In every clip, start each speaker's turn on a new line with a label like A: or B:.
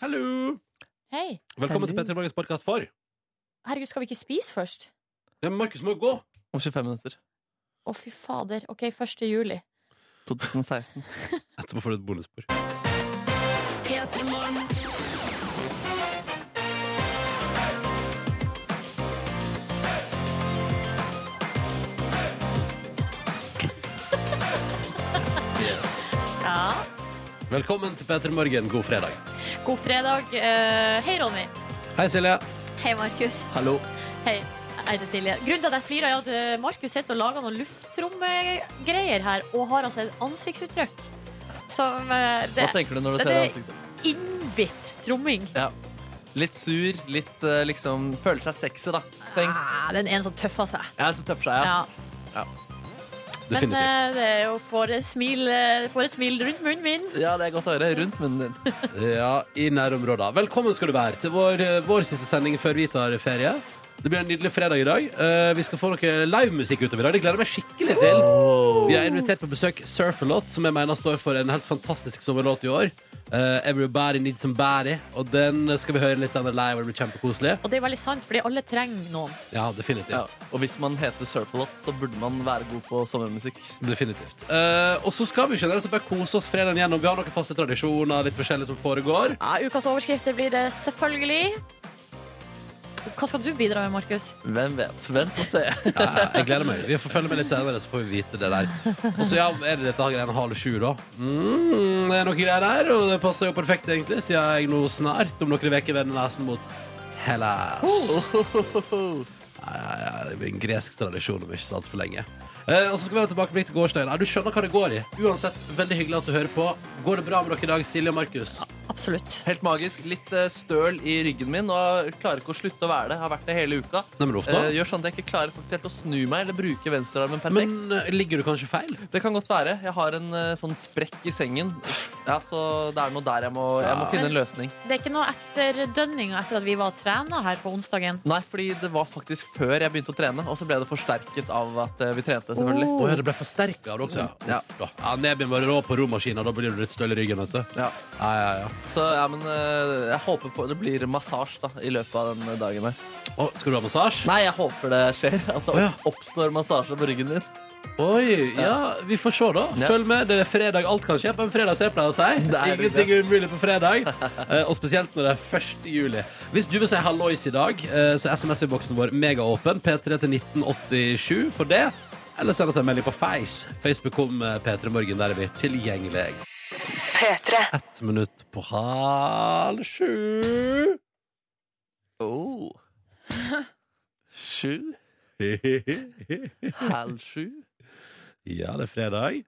A: Hallo!
B: Hei.
A: Velkommen til
C: Hallo.
A: Petter Morgens podkast for
B: Herregud, skal vi ikke spise først?
A: ja, men Markus må jo gå.
C: Om 25 minutter.
B: Å, fy fader. OK, 1. juli.
C: 2016.
A: Etterpå får du et bonusspor.
B: Ja.
A: Velkommen til Petter Morgen. God fredag.
B: God fredag. Eh, hei, Ronny.
A: Hei, Silje.
B: Hei, Markus.
C: Hallo.
B: Hei. Jeg heter Silje. Grunnen til at jeg flirer, er at eh, Markus sitter og lager noen lufttrommegreier her, og har altså et ansiktsuttrykk som eh, Det
C: Hva tenker du når du
B: det-
C: ser det i ansiktet?
B: er innbitt tromming.
C: Ja. Litt sur, litt eh, liksom Føler seg sexy, da. Tenk.
B: Ah, den ene som tøffer seg.
C: Jeg er så tøff seg, ja.
B: Ja. Men
A: Definitivt.
B: eh, det er jo får et smil, eh, får et smil rundt munnen min.
C: Ja, det er godt å høre. Rundt munnen din.
A: Ja, i nærområda. Velkommen skal du være til vår, eh, vår siste sending før vi tar ferie. Det blir en nydelig fredag i dag. Eh, vi skal få noe livemusikk utover i dag. Det gleder jeg meg skikkelig til. Vi har invitert på besøk Surferlot, som jeg mener står for en helt fantastisk sommerlåt i år. Eh, 'Everybody Needs Somebody'. Og den skal vi høre litt senere live, og det blir kjempekoselig.
B: Og det er veldig sant, fordi alle trenger noen.
A: Ja, definitivt.
C: Ja. Og hvis man heter Surfalot, så burde man være god på sommermusikk.
A: Definitivt. Eh, og så skal vi generelt sett bare kose oss fredagen gjennom. Vi har noen faste tradisjoner, litt forskjellig som foregår.
B: Ja, ukas overskrifter blir det selvfølgelig. Hva skal du bidra med, Markus?
C: Hvem vet? Vent og se.
A: Ja, jeg gleder meg. Vi får følge med litt senere, så får vi vite det der. Og så ja, er det dette greiene halv sju, da. Mm, det er noen greier der, og det passer jo perfekt, egentlig, siden jeg nå snart, om noen uker, vender nesen mot Hellas. Ja, ja, ja, det blir en gresk tradisjon om ikke så altfor lenge. Eh, og så skal vi ha tilbakeblikk til gårsdagen. Ja, du skjønner hva det går i. Uansett, veldig hyggelig at du hører på. Går det bra med dere i dag, Silje og Markus?
B: Absolutt.
C: Helt magisk. Litt eh, støl i ryggen min og jeg klarer ikke å slutte å være det. Har vært det hele uka.
A: Nei, men uff da.
C: Eh, gjør sånn at jeg ikke klarer faktisk helt å snu meg eller bruke venstrearmen perfekt.
A: Men eh, ligger du kanskje feil?
C: Det kan godt være. Jeg har en eh, sånn sprekk i sengen. Ja, Så det er noe der jeg må, jeg må
A: Ja.
C: finne en løsning.
B: Det er ikke noe etterdønninga etter at vi var og trena her på onsdagen.
C: Nei, fordi det var faktisk før jeg begynte å trene, og så ble det forsterket av at eh, vi trente, selvfølgelig.
A: Å ja, det ble forsterka av det også, ja.
C: Ja.
A: Uff, da. ja Nebyen var rå på romaskina, da blir du litt støl i ryggen, vet du.
C: Ja.
A: Ja, ja, ja.
C: Så ja, men eh, jeg håper på det blir massasje da, i løpet av den dagen her.
A: Å, skal du ha massasje?
C: Nei, jeg håper det skjer. At
A: Å,
C: det
A: ja.
C: oppstår massasje på ryggen min.
A: Oi, ja, vi får se, da.
C: Ja.
A: Følg med. Det er fredag. Alt kan skje på en fredag, ser jeg pleier å si.
C: Det er det.
A: Ingenting er umulig på fredag. Eh, Og spesielt når det er 1. juli. Hvis du vil si hallois i dag, eh, så er SMS-boksen vår megaåpen. P3 til 1987 for det. Eller send oss en melding på Face. Facebook kom eh, P3 Morgen, der er vi tilgjengelige. Ett minutt på halv sju.
C: Oh. Sju? Halv sju?
A: Ja, det er fredag.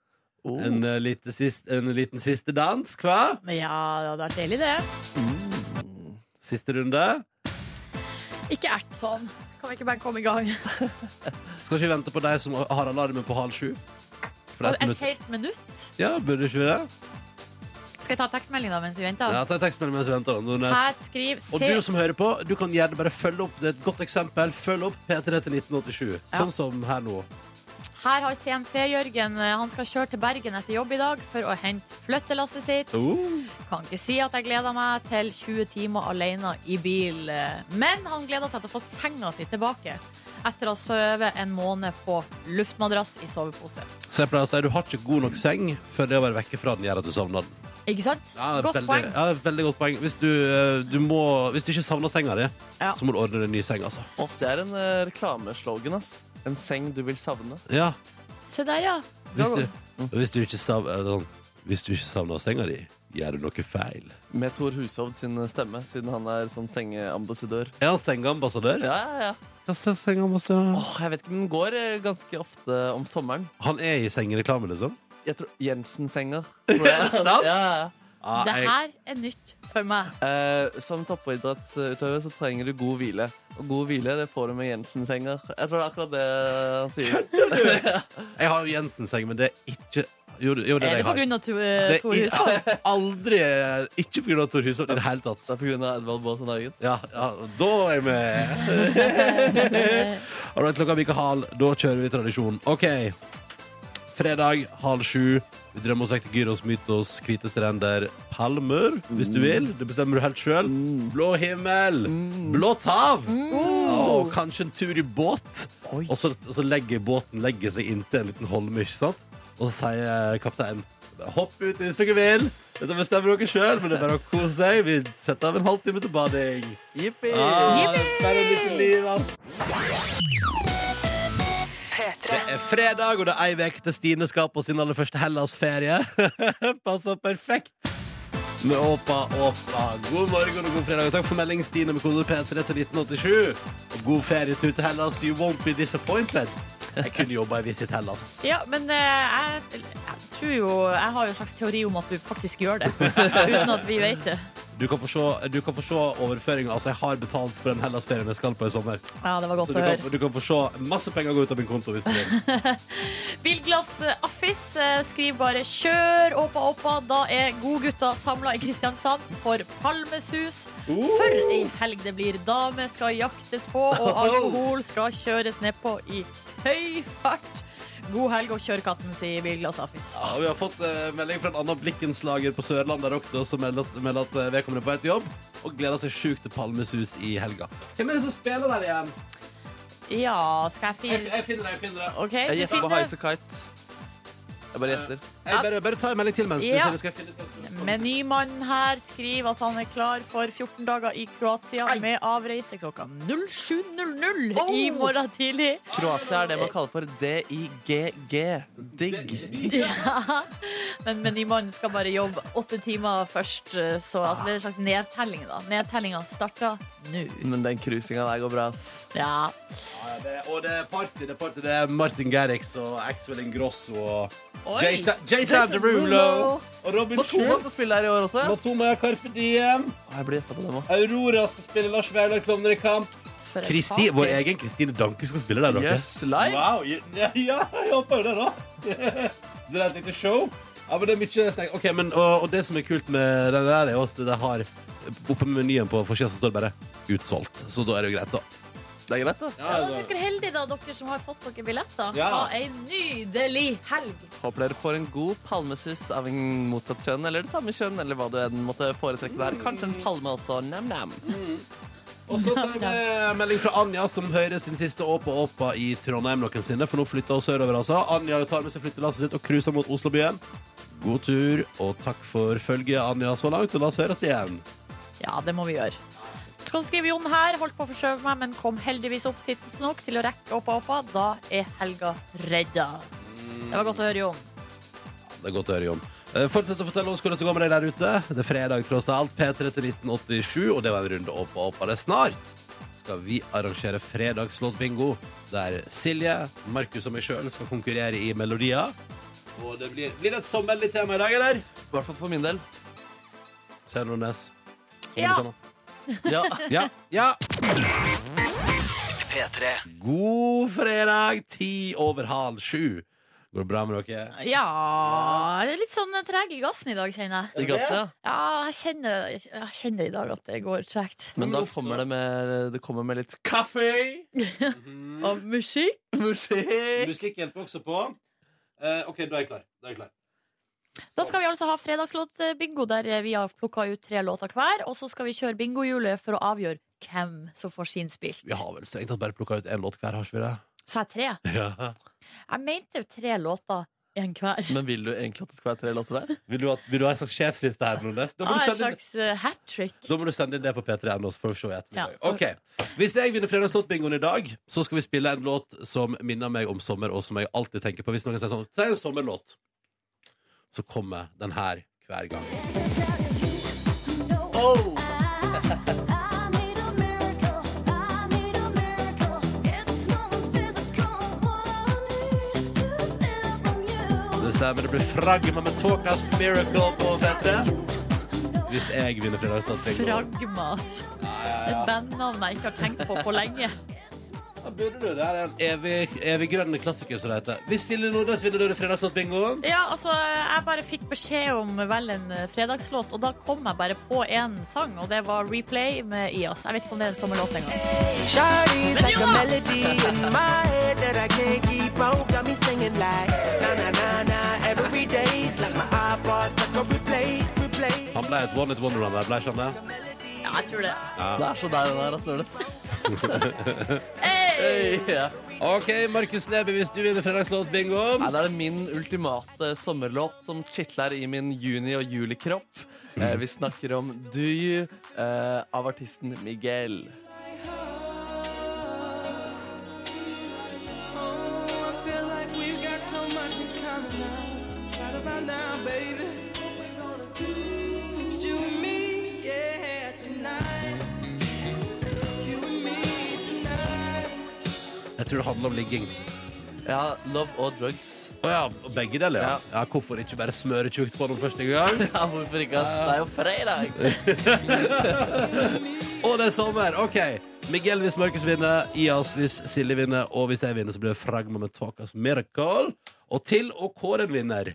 C: Oh.
A: En, eh, lite sist, en liten siste dansk, hva?
B: Men ja, det hadde vært deilig, det.
A: Siste runde.
B: Ikke ert sånn. Kan vi ikke bare komme i gang?
A: Skal ikke vi vente på deg som har alarmen på halv sju? For ett
B: Et
A: minutt.
B: helt minutt?
A: Ja, burde ikke vi det?
B: Skal jeg ta tekstmelding da mens vi venter?
A: Ja, ta en tekstmelding mens vi venter. da, Nordnes.
B: Her skriver
A: Og du
B: C.
A: som hører på, du kan gjerne bare følge opp. Det er et godt eksempel. Følg opp P3 til 1987,
B: Ja.
A: sånn som her nå.
B: Her har CNC-Jørgen Han skal kjøre til Bergen etter jobb i dag for å hente flyttelasset sitt.
A: Oh.
B: Kan ikke si at jeg gleder meg til 20 timer alene i bil. Men han gleder seg til å få senga si tilbake etter å ha sovet en måned på luftmadrass i sovepose.
A: Så jeg pleier å si du har ikke god nok seng før det å være vekke fra den gjør at du savner den.
B: Ikke sant?
A: Ja,
B: Godt
A: veldig,
B: poeng.
A: Ja, veldig godt poeng. Hvis du, eh, du, må, hvis du ikke savner senga di,
B: Ja.
A: så må du ordne deg en ny seng, altså.
C: Åh, det er en eh, reklameslogan, ass. En seng du vil savne.
A: Ja,
B: Se der, ja.
A: hvis du, hvis du ikke savner eh, sånn, Hvis du ikke savner senga di, gjør du noe feil.
C: Med Thor Hushovd sin stemme, siden han er sånn sengeambassadør.
A: Er han sengeambassadør?
C: Ja, ja, ja.
A: Ja, se, sengeambassadør.
C: Åh, jeg vet ikke, men den går eh, ganske ofte om sommeren.
A: Han er i sengereklame, liksom?
C: Jeg tror Jensen-senga. tror jeg.
A: sant?
C: Ja, ja.
A: Ja,
B: Det
A: jeg-
B: her er nytt for meg.
C: Eh, som toppidrettsutøver så trenger du god hvile. Og god hvile det får du med Jensen-senga. Jeg tror det er akkurat det han sier.
A: Jeg har jo Jensen-seng, men det er ikke Jo, det- jo det
B: Er
A: er det jeg
B: det på
A: har.
B: grunn av eh, Tor
A: Det er i-
B: Hushovd?
A: aldri Ikke på grunn av Tor Hushovd i det hele tatt.
C: Det er på grunn av Edvald Baasen Hagen.
A: Ja, ja, og da er jeg med. All right, klokka er like halv. Da kjører vi tradisjon. OK. Fredag halv sju. Vi drømmer oss vekk til Gyros, Mytos, Hvite strender, Palmer, hvis du vil. Det bestemmer du helt sjøl. Blå himmel, blått hav, og kanskje en tur i båt.
C: Oi.
A: Og så, og så legger båten legger seg inntil en liten holme, ikke sant? Og så sier kapteinen Hopp ut hvis dere vil. Dette bestemmer dere sjøl, men det er bare å kose seg. Vi setter av en halvtime til bading.
C: Jippi!
A: Ah, bare litt liv, ass. Det er fredag, og det er ei uke til Stine skal på sin aller første Hellas-ferie. Passer perfekt. Med Åpa Åpa. God morgen og god fredag. Og takk for melding, Stine, med kode P3 til 1987. Og god ferietur til Hellas. You won't be disappointed. Jeg kunne jobba i Visit Hellas. ass.
B: Ja, men eh, jeg, jeg tror jo Jeg har jo en slags teori om at du faktisk gjør det. Uten at vi vet det.
A: Du kan få se, du kan få se overføringa. Altså, jeg har betalt for den Hellas-ferien jeg skal på i sommer.
B: Ja, det var
A: Så
B: godt
A: du
B: å høre.
A: kan, du kan få se masse penger gå ut av min konto hvis du vil.
B: Bilglass eh, Affis eh, skriver bare 'kjør åpa åpa'. Da er godgutta samla i Kristiansand for palmesus.
C: Uh.
B: For ei helg det blir. Damer skal jaktes på, og
C: Oh.
B: alkohol skal kjøres nedpå i høy fart. God helg og kjør katten, sier Bilglass Affis.
A: Ja, og vi har fått eh, melding fra en annen blikkenslager på Sørlandet der også, som melder, melder at eh, vedkommende er på vei til jobb og gleder seg sjukt til Palmesus i helga. Hvem er det som spiller der igjen?
B: Ja, skal jeg
A: Jeg,
B: finne
A: jeg finner det. Jeg finner det.
B: OK,
C: Jeg
B: du
C: gjetter på
B: finner
C: Highasakite. Jeg bare gjetter.
A: Jeg bare, bare ta en melding til mens du
B: Ja.
A: ser det. Skal jeg finne ut hvem som-
B: Menymannen her skriver at han er klar for 14 dager i Kroatia med avreise klokka 07.00 i morgen tidlig.
C: Kroatia er det man kaller for DIGG. Digg.
B: Ja. Men menymannen skal bare jobbe åtte timer først, så altså, det er en slags nedtelling. da Nedtellinga starter nå.
C: Men den cruisinga der går bra, ass.
B: Ja.
A: Ja, ja, det- Og det er party. Det er party. Det er Martin Gerrix og Axel Ingrosso og
B: Oi.
A: Jay Sa- Jay Sanderulo
C: Derulo.
A: og Robin
C: Og Thomas
A: Schultz.
C: skal spille her i år også.
A: Matoma Carpe Diem.
C: Å, Jeg blir gjetta på dem òg.
A: Aurora skal spille Lars Vaular-klovner i kamp.
B: For en
A: Kristi,
B: pakke.
A: vår egen Kristine Danke skal spille der. dere.
C: Yes, live.
A: Wow, ja, ja, jeg håper jo det da Det er et lite show Ja, men det er mye snakk Ok, men, og, og det som er kult med den der Er også at det har Oppe med menyen på forsiden så står det bare Utsolgt, så da er det jo greit da
C: Det er greit, da.
B: Ja, men dere er heldige, da, dere som har fått dere billetter.
A: Ja.
B: Ha ei nydelig helg!
C: Håper dere får en god palmesus av en motsatt kjønn eller det samme kjønn. Eller hva du enn måtte foretrekke der. Kanskje en palme også. Nam-nam.
A: Og så tar vi med melding fra Anja Som hører sin siste Åpa Åpa i Trondheim noensinne For nå flytter hun sørover altså Anja tar med seg flyttelasset sitt og cruiser mot Oslobyen God tur, og takk for følget Anja så langt Og la oss høres igjen
B: Ja, det må vi gjøre. Skal skrive Jon her, holdt på å forskjøve meg, men kom heldigvis opp tidsnok til å rekke oppa oppa. Da er helga redda.
A: Mm.
B: Det var godt å høre, Jon.
A: Det er godt å høre, Jon. Eh, Fortsett å fortelle oss hvordan det går med deg der ute. Det er fredag tross alt. P3 til 1987, og det var en runde opp og opp av det. Snart skal vi arrangere fredagslåtbingo, der Silje, Markus og meg sjøl skal konkurrere i melodier. Og det blir, blir det et sommerlig tema i dag, eller?
C: I hvert fall for min del.
A: Kjell Nordnes.
B: Ja.
C: Ja.
A: ja. Ja. God fredag, ti over halv sju. Går det bra med dere?
B: Ja Jeg er litt sånn treg i gassen i dag, kjenner jeg.
C: I gassen, ja.
B: Ja, jeg kjenner, jeg kjenner i dag at det går tregt.
C: Men da kommer det med, det kommer med litt kaffe.
B: Og musikk.
C: Musikk.
A: Musikk hjelper også på. Eh, OK, da er jeg klar. Da er jeg klar.
B: Da skal vi altså ha fredagslåtbingo, der vi har plukka ut tre låter hver. Og så skal vi kjøre bingohjulet for å avgjøre hvem som får sin spilt.
A: Vi har vel strengt tatt bare plukka ut én låt hver, har ikke vi det?
B: Så jeg tre. Jeg mente tre låter, én hver.
C: Men vil du egentlig at det skal være tre låter der?
A: Vil, du ha, vil du ha en slags sjefsliste her? Nordnes? Da, må du
B: Ah, en
A: sende inn,
B: slags uh, hat trick.
A: da må du sende inn det på P3.no, så får vi se i ettermiddag.
B: Ja, for-
A: Ok. Hvis jeg vinner fredagslåtbingoen i dag, så skal vi spille en låt som minner meg om sommer, og som jeg alltid tenker på. Hvis noen sier sånn Si en sommerlåt, så kommer den her hver gang. Det stemmer. Det blir Fragma med Talkas Miracle på P3. Hvis jeg vinner fredagslåtbingoen.
B: Fragmas. Et bandnavn jeg ikke har tenkt på på lenge.
A: så burde du. Det er en evig, evig grønn klassiker, som det heter. Hvis Silje Nordnes vinner Døre fredagslåtbingoen
B: Ja, altså, jeg bare fikk beskjed om vel en eh, fredagslåt, og da kom jeg bare på en sang, og det var Replay med IAS. Jeg vet ikke om det er en sommerlåt engang.
D: Shawty's like a melody in my head that I can't keep out. Got me singing like na na na na. Every day's like my eyeballs like a replay, replay.
A: Han ble et one-hit wonderland der, ble ikke han det?
B: Ja, jeg tror det.
C: Det er så deilig det der, at Nordnes.
B: Hey!
C: Hey, ja.
A: OK, Markus Neby, hvis du vinner fredagslåtbingoen
C: Nei, det er min ultimate eh, sommerlåt som kitler i min juni- og julikropp. Eh, vi snakker om Do You eh, av artisten Miguel.
D: Oh, I feel like we've got so much in common now. Right about now, baby. What we gonna do? It's you and me, yeah, tonight. You and me tonight.
A: Jeg tror det handler om ligging.
C: Ja, Love og Drugs.
A: Å ja, og begge deler, ja. ja. Hvorfor ikke bare smøre tjukt på den første gang?
C: Ja, hvorfor ikke? ass? Det er jo fredag!
A: Og det er sommer! OK. Miguel hvis Markus vinner, Ias hvis Silje vinner, og hvis jeg vinner, så blir det Fragma med Talkas Miracle. Og til og Kåren vinner.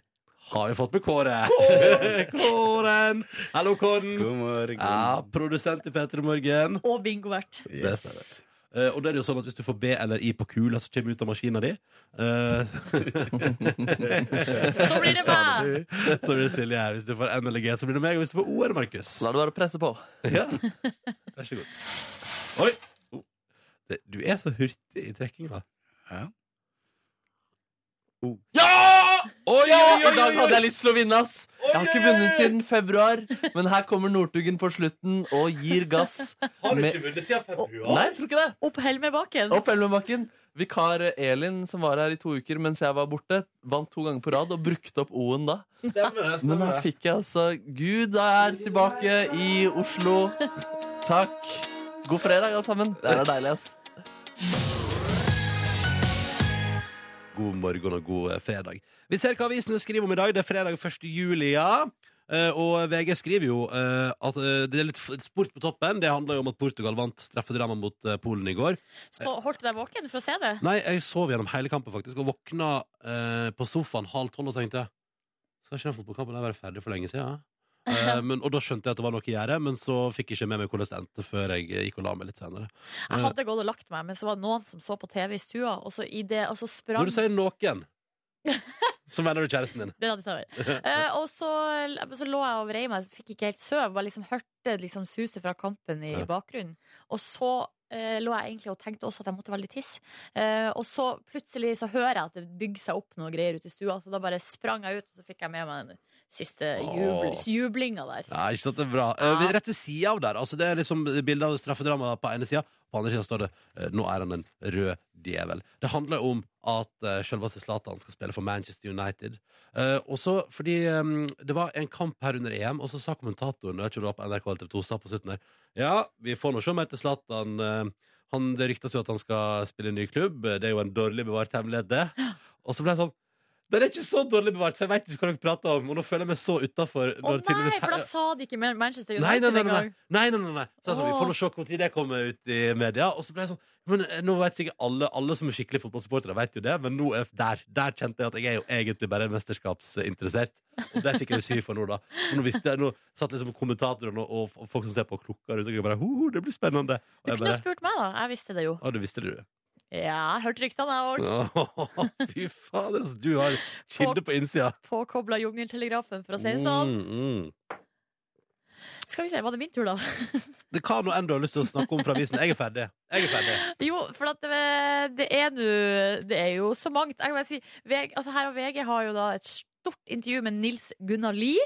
A: Har vi fått med Kåre? Kåren! Hallo, Kåren.
E: God morgen.
A: Ja, produsent i P3 Morgen.
B: Og bingovert.
E: Yes.
A: Eh, og da er det jo sånn at hvis du får B eller I på kula, så kommer du ut av maskina di. Eh,
B: Så blir det
A: Ah.
B: meg!
A: så blir det Silje her. Hvis du får N eller G, så blir det meg. Og hvis du får O, er det Markus.
C: Så la det bare presse på.
A: Ja. Vær så god. Oi! Oh. Det- Du er så hurtig i trekkinga.
E: Ja.
C: Ja!
A: Oi,
C: ja! I dag hadde jeg lyst til å vinne, ass. Jeg har ikke vunnet siden februar, men her kommer Northugen på slutten og gir gass.
A: Har du
C: Med-
A: ikke vunnet siden februar?
C: Nei, jeg tror ikke det.
B: Opp Helmebakken.
C: Opp Elvebakken. Vikar Elin, som var her i to uker mens jeg var borte, vant to ganger på rad og brukte opp O-en da.
A: Stemmer det,
C: Men
A: stemmer
C: her
A: det.
C: fikk jeg altså Gud er tilbake i Oslo. Takk. God fredag, alle sammen. Det er deilig, ass.
A: God morgen og god eh, fredag. Vi ser hva avisene skriver om i dag. Det er fredag 1. juli, ja. Eh, og VG skriver jo eh, at eh, det er litt f- sport på toppen. Det handler jo om at Portugal vant straffedramma mot eh, Polen i går.
B: Så holdt du deg våken for å se det?
A: Nei, jeg sov gjennom hele kampen faktisk og våkna eh, på sofaen halv tolv og tenkte Skal ikke den fotballkampen der være ferdig for lenge siden? ja?» Eh, men, og da skjønte jeg at det var noe i gjære, men så fikk jeg ikke med meg hvordan det endte før jeg eh, gikk og la meg litt senere.
B: Jeg hadde gått og lagt meg, men så var det noen som så på TV i stua, og så, i det, og så sprang
A: Når du sier noen, så mener du kjæresten din.
B: Den hadde tatt over. Eh, og så, så lå jeg og vrei meg, fikk ikke helt søv. Bare liksom hørte liksom suset fra kampen i
A: Ja.
B: bakgrunnen. Og så eh, lå jeg egentlig og tenkte også at jeg måtte være litt tiss. Eh, og så plutselig så hører jeg at det bygger seg opp noe greier ute i stua, så da bare sprang jeg ut, og så fikk jeg med meg den siste jubel,
A: Åh.
B: jublinga der.
A: Ja, ikke sant, det er bra. Eh, vi- rett ved sida av der. Altså, det er liksom bilde av straffedrama på ene sida. På andre sida står det eh, 'Nå er han en rød djevel'. Det handler om at uh, selveste Zlatan skal spille for Manchester United. Eh, og så, fordi eh, Det var en kamp her under EM, og så sa kommentatoren jeg vet ikke om det var på NRK eller TV 2 sa på slutten her, Ja, vi får nå se mer til Zlatan. eh, han, det ryktes jo at han skal spille i en ny klubb. eh, Det er jo en dårlig bevart hemmelighet, det. Og så ble jeg sånn Den er ikke så dårlig bevart, for jeg veit ikke hva dere prater om. Og nå føler jeg meg så utafor.
B: Å nei, for da sa de ikke mer Manchester
A: Nei, nei,
B: United
A: nei, nei.
B: engang.
A: nei, nei, nei, nei. Så jeg sa, sånn, vi
B: Åh.
A: får nå se hvor tid det kommer ut i media. Og så ble jeg sånn men eh, nå vet sikkert alle, alle som er skikkelig fotballsupportere, vet jo det, men nå er der, der kjente jeg at jeg er jo egentlig bare mesterskapsinteressert. Og det fikk jeg jo sy for nå, da. For nå visste jeg, nå satt liksom kommentatoren og, og, og folk som ser på klokka rundt, og jeg bare ho, ho, det blir spennende.
B: Du
A: Og jeg
B: kunne jo
A: bare,
B: spurt meg, da. Jeg visste det jo.
A: å, du visste det, du.
B: Ja, jeg hørte ryktene, jeg òg.
A: Åh, Fy fader, altså. Du har kilde på innsida.
B: Påkobla Jungeltelegrafen, for å si det sånn.
A: Mm, mm.
B: Skal vi se, var det min tur, da?
A: Det kan nå enn du har lyst til å snakke om fra avisen. Jeg er ferdig. Jeg er ferdig.
B: Jo, for at det, det er nå Det er jo så mangt. Jeg kan bare si, VG, altså her og VG har jo da et stort intervju med Nils Gunnar Lie.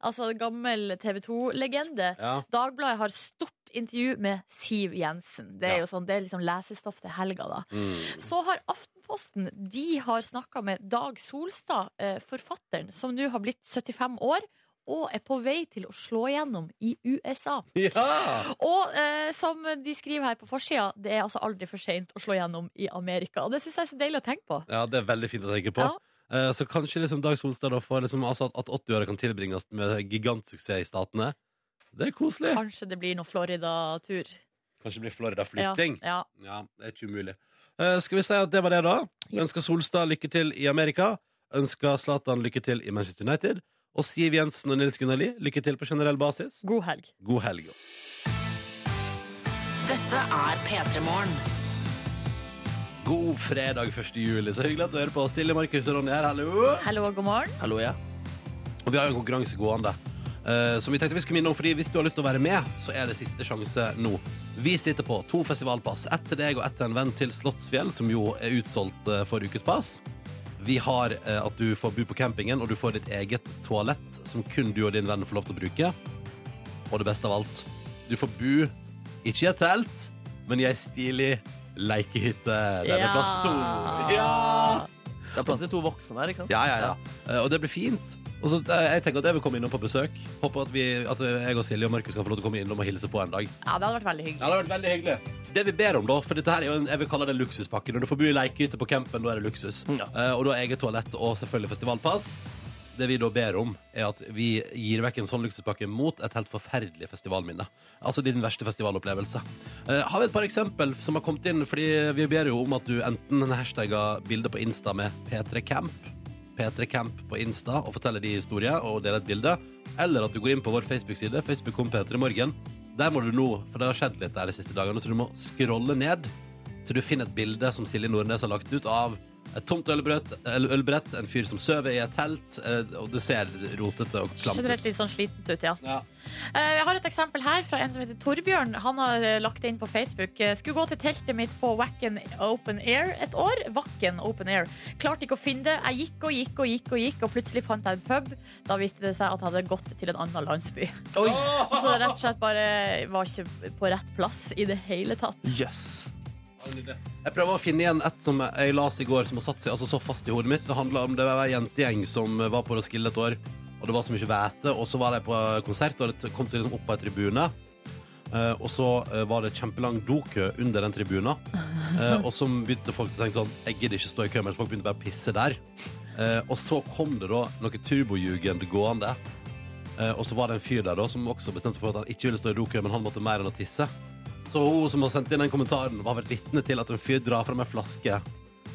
B: Altså gammel TV 2-legende.
A: Ja.
B: Dagbladet har stort intervju med Siv Jensen. Det
A: Ja.
B: er jo sånn, det er liksom lesestoff til helga, da.
A: Mm.
B: Så har Aftenposten De har snakka med Dag Solstad, eh, forfatteren, som nå har blitt 75 år. Og er på vei til å slå igjennom i USA.
A: ja.
B: Og eh, som de skriver her på forsida, det er altså aldri for seint å slå gjennom i Amerika. Og det syns jeg er så deilig å tenke på.
A: Ja, det er veldig fint å tenke på.
B: Ja.
A: Eh, så kanskje liksom Dag Solstad da får liksom, altså at, at 80-åra kan tilbringes med gigantsuksess i statene. Det er koselig.
B: Kanskje det blir noe Florida-tur.
A: Kanskje det blir Florida-flytting.
B: Ja, ja.
A: Ja, det er ikke umulig. Eh, skal vi si at det var det, da? Ønsker Solstad lykke til i Amerika. Ønsker Zlatan lykke til i Manchester United. Og Siv Jensen og Nils Gunnar Lie lykke til på generell basis.
B: God helg.
A: God helg.
E: Dette er P3 Morgen.
A: God fredag 1. juli. Så hyggelig at du hører på. Silje Markus og Ronny her, hallo.
B: Hallo og god morgen.
C: Hallo, ja.
A: Og vi har jo en konkurranse gående. eh, som vi tenkte vi skulle minne om, fordi Hvis du har lyst til å være med, så er det siste sjanse nå. Vi sitter på to festivalpass. Ett til deg og ett til en venn til Slottsfjell, som jo er utsolgt eh, for ukespass. Vi har eh, at du får bo på campingen, og du får ditt eget toalett, som kun du og din venn får lov til å bruke. Og det beste av alt, du får bo ikke i et telt, men i ei stilig lekehytte. Der det er plass til to. Ja!
C: Det er plass til to voksne her, ikke sant?
A: Ja, ja, ja. Eh, Og det blir fint. Og så, eh, jeg tenker at jeg vil komme innom på besøk. Håper at, vi, at eh, jeg og Silje og Markus kan få lov til å komme innom og hilse på en dag.
B: Ja, det hadde vært veldig hyggelig.
A: Ja, det har vært veldig hyggelig. Det vi ber om, da, for dette her er jo en, jeg vil kalle det luksuspakke. Når du får bo i lekehytte på campen, da er det luksus.
C: Ja.
A: Eh, og da har eget toalett og selvfølgelig festivalpass. Det vi da ber om, er at vi gir vekk en sånn luksuspakke mot et helt forferdelig festivalminne. Altså din verste festivalopplevelse. Eh, har vi et par eksempel som har kommet inn? Fordi vi ber jo om at du enten hashtagger bildet på Insta med P3camp. P3camp på Insta og forteller de historier og deler et bilde. Eller at du går inn på vår Facebook-side, Facebook.com P3morgen. Der må du nå, for det har skjedd litt der de siste dagene, så du må scrolle ned så du finner et bilde som Silje Nordnes har lagt ut av et tomt ølbrett, øl- ølbrett en fyr som sover i et telt, eh, og det ser rotete og klamt
B: Generelt
A: ut.
B: litt sånn slitent ut, ja.
A: Ja.
B: Eh, Jeg har et eksempel her fra en som heter Torbjørn. Han har eh, lagt det inn på Facebook. Eh, Skulle gå til teltet mitt på Wacken Open Air et år. Wacken Open Air. Klarte ikke å finne det. Jeg gikk og gikk og gikk og gikk, og plutselig fant jeg en pub. Da viste det seg at jeg hadde gått til en annen landsby. Så rett og slett bare var ikke på rett plass i det hele tatt.
C: Jøss.
A: Jeg prøver å finne igjen et som jeg las i går, som har satt seg altså, så fast i hodet mitt. Det handla om det var en jentegjeng som var på Roskilde et år, og det var så mye væte. Og så var de på konsert, og det kom seg liksom opp på ei tribune. Eh, og så eh, var det kjempelang dokø under den tribuna. Eh, og så begynte folk å tenke sånn Jeg gidder ikke stå i kø, mens folk begynte bare å pisse der. Eh, og så kom det da noe turbojugend gående. Eh, og så var det en fyr der da som også bestemte seg for at han ikke ville stå i dokø, men han måtte mer enn å tisse. Så hun som har sendt inn den kommentaren, har vært vitne til at en fyr drar fram en flaske,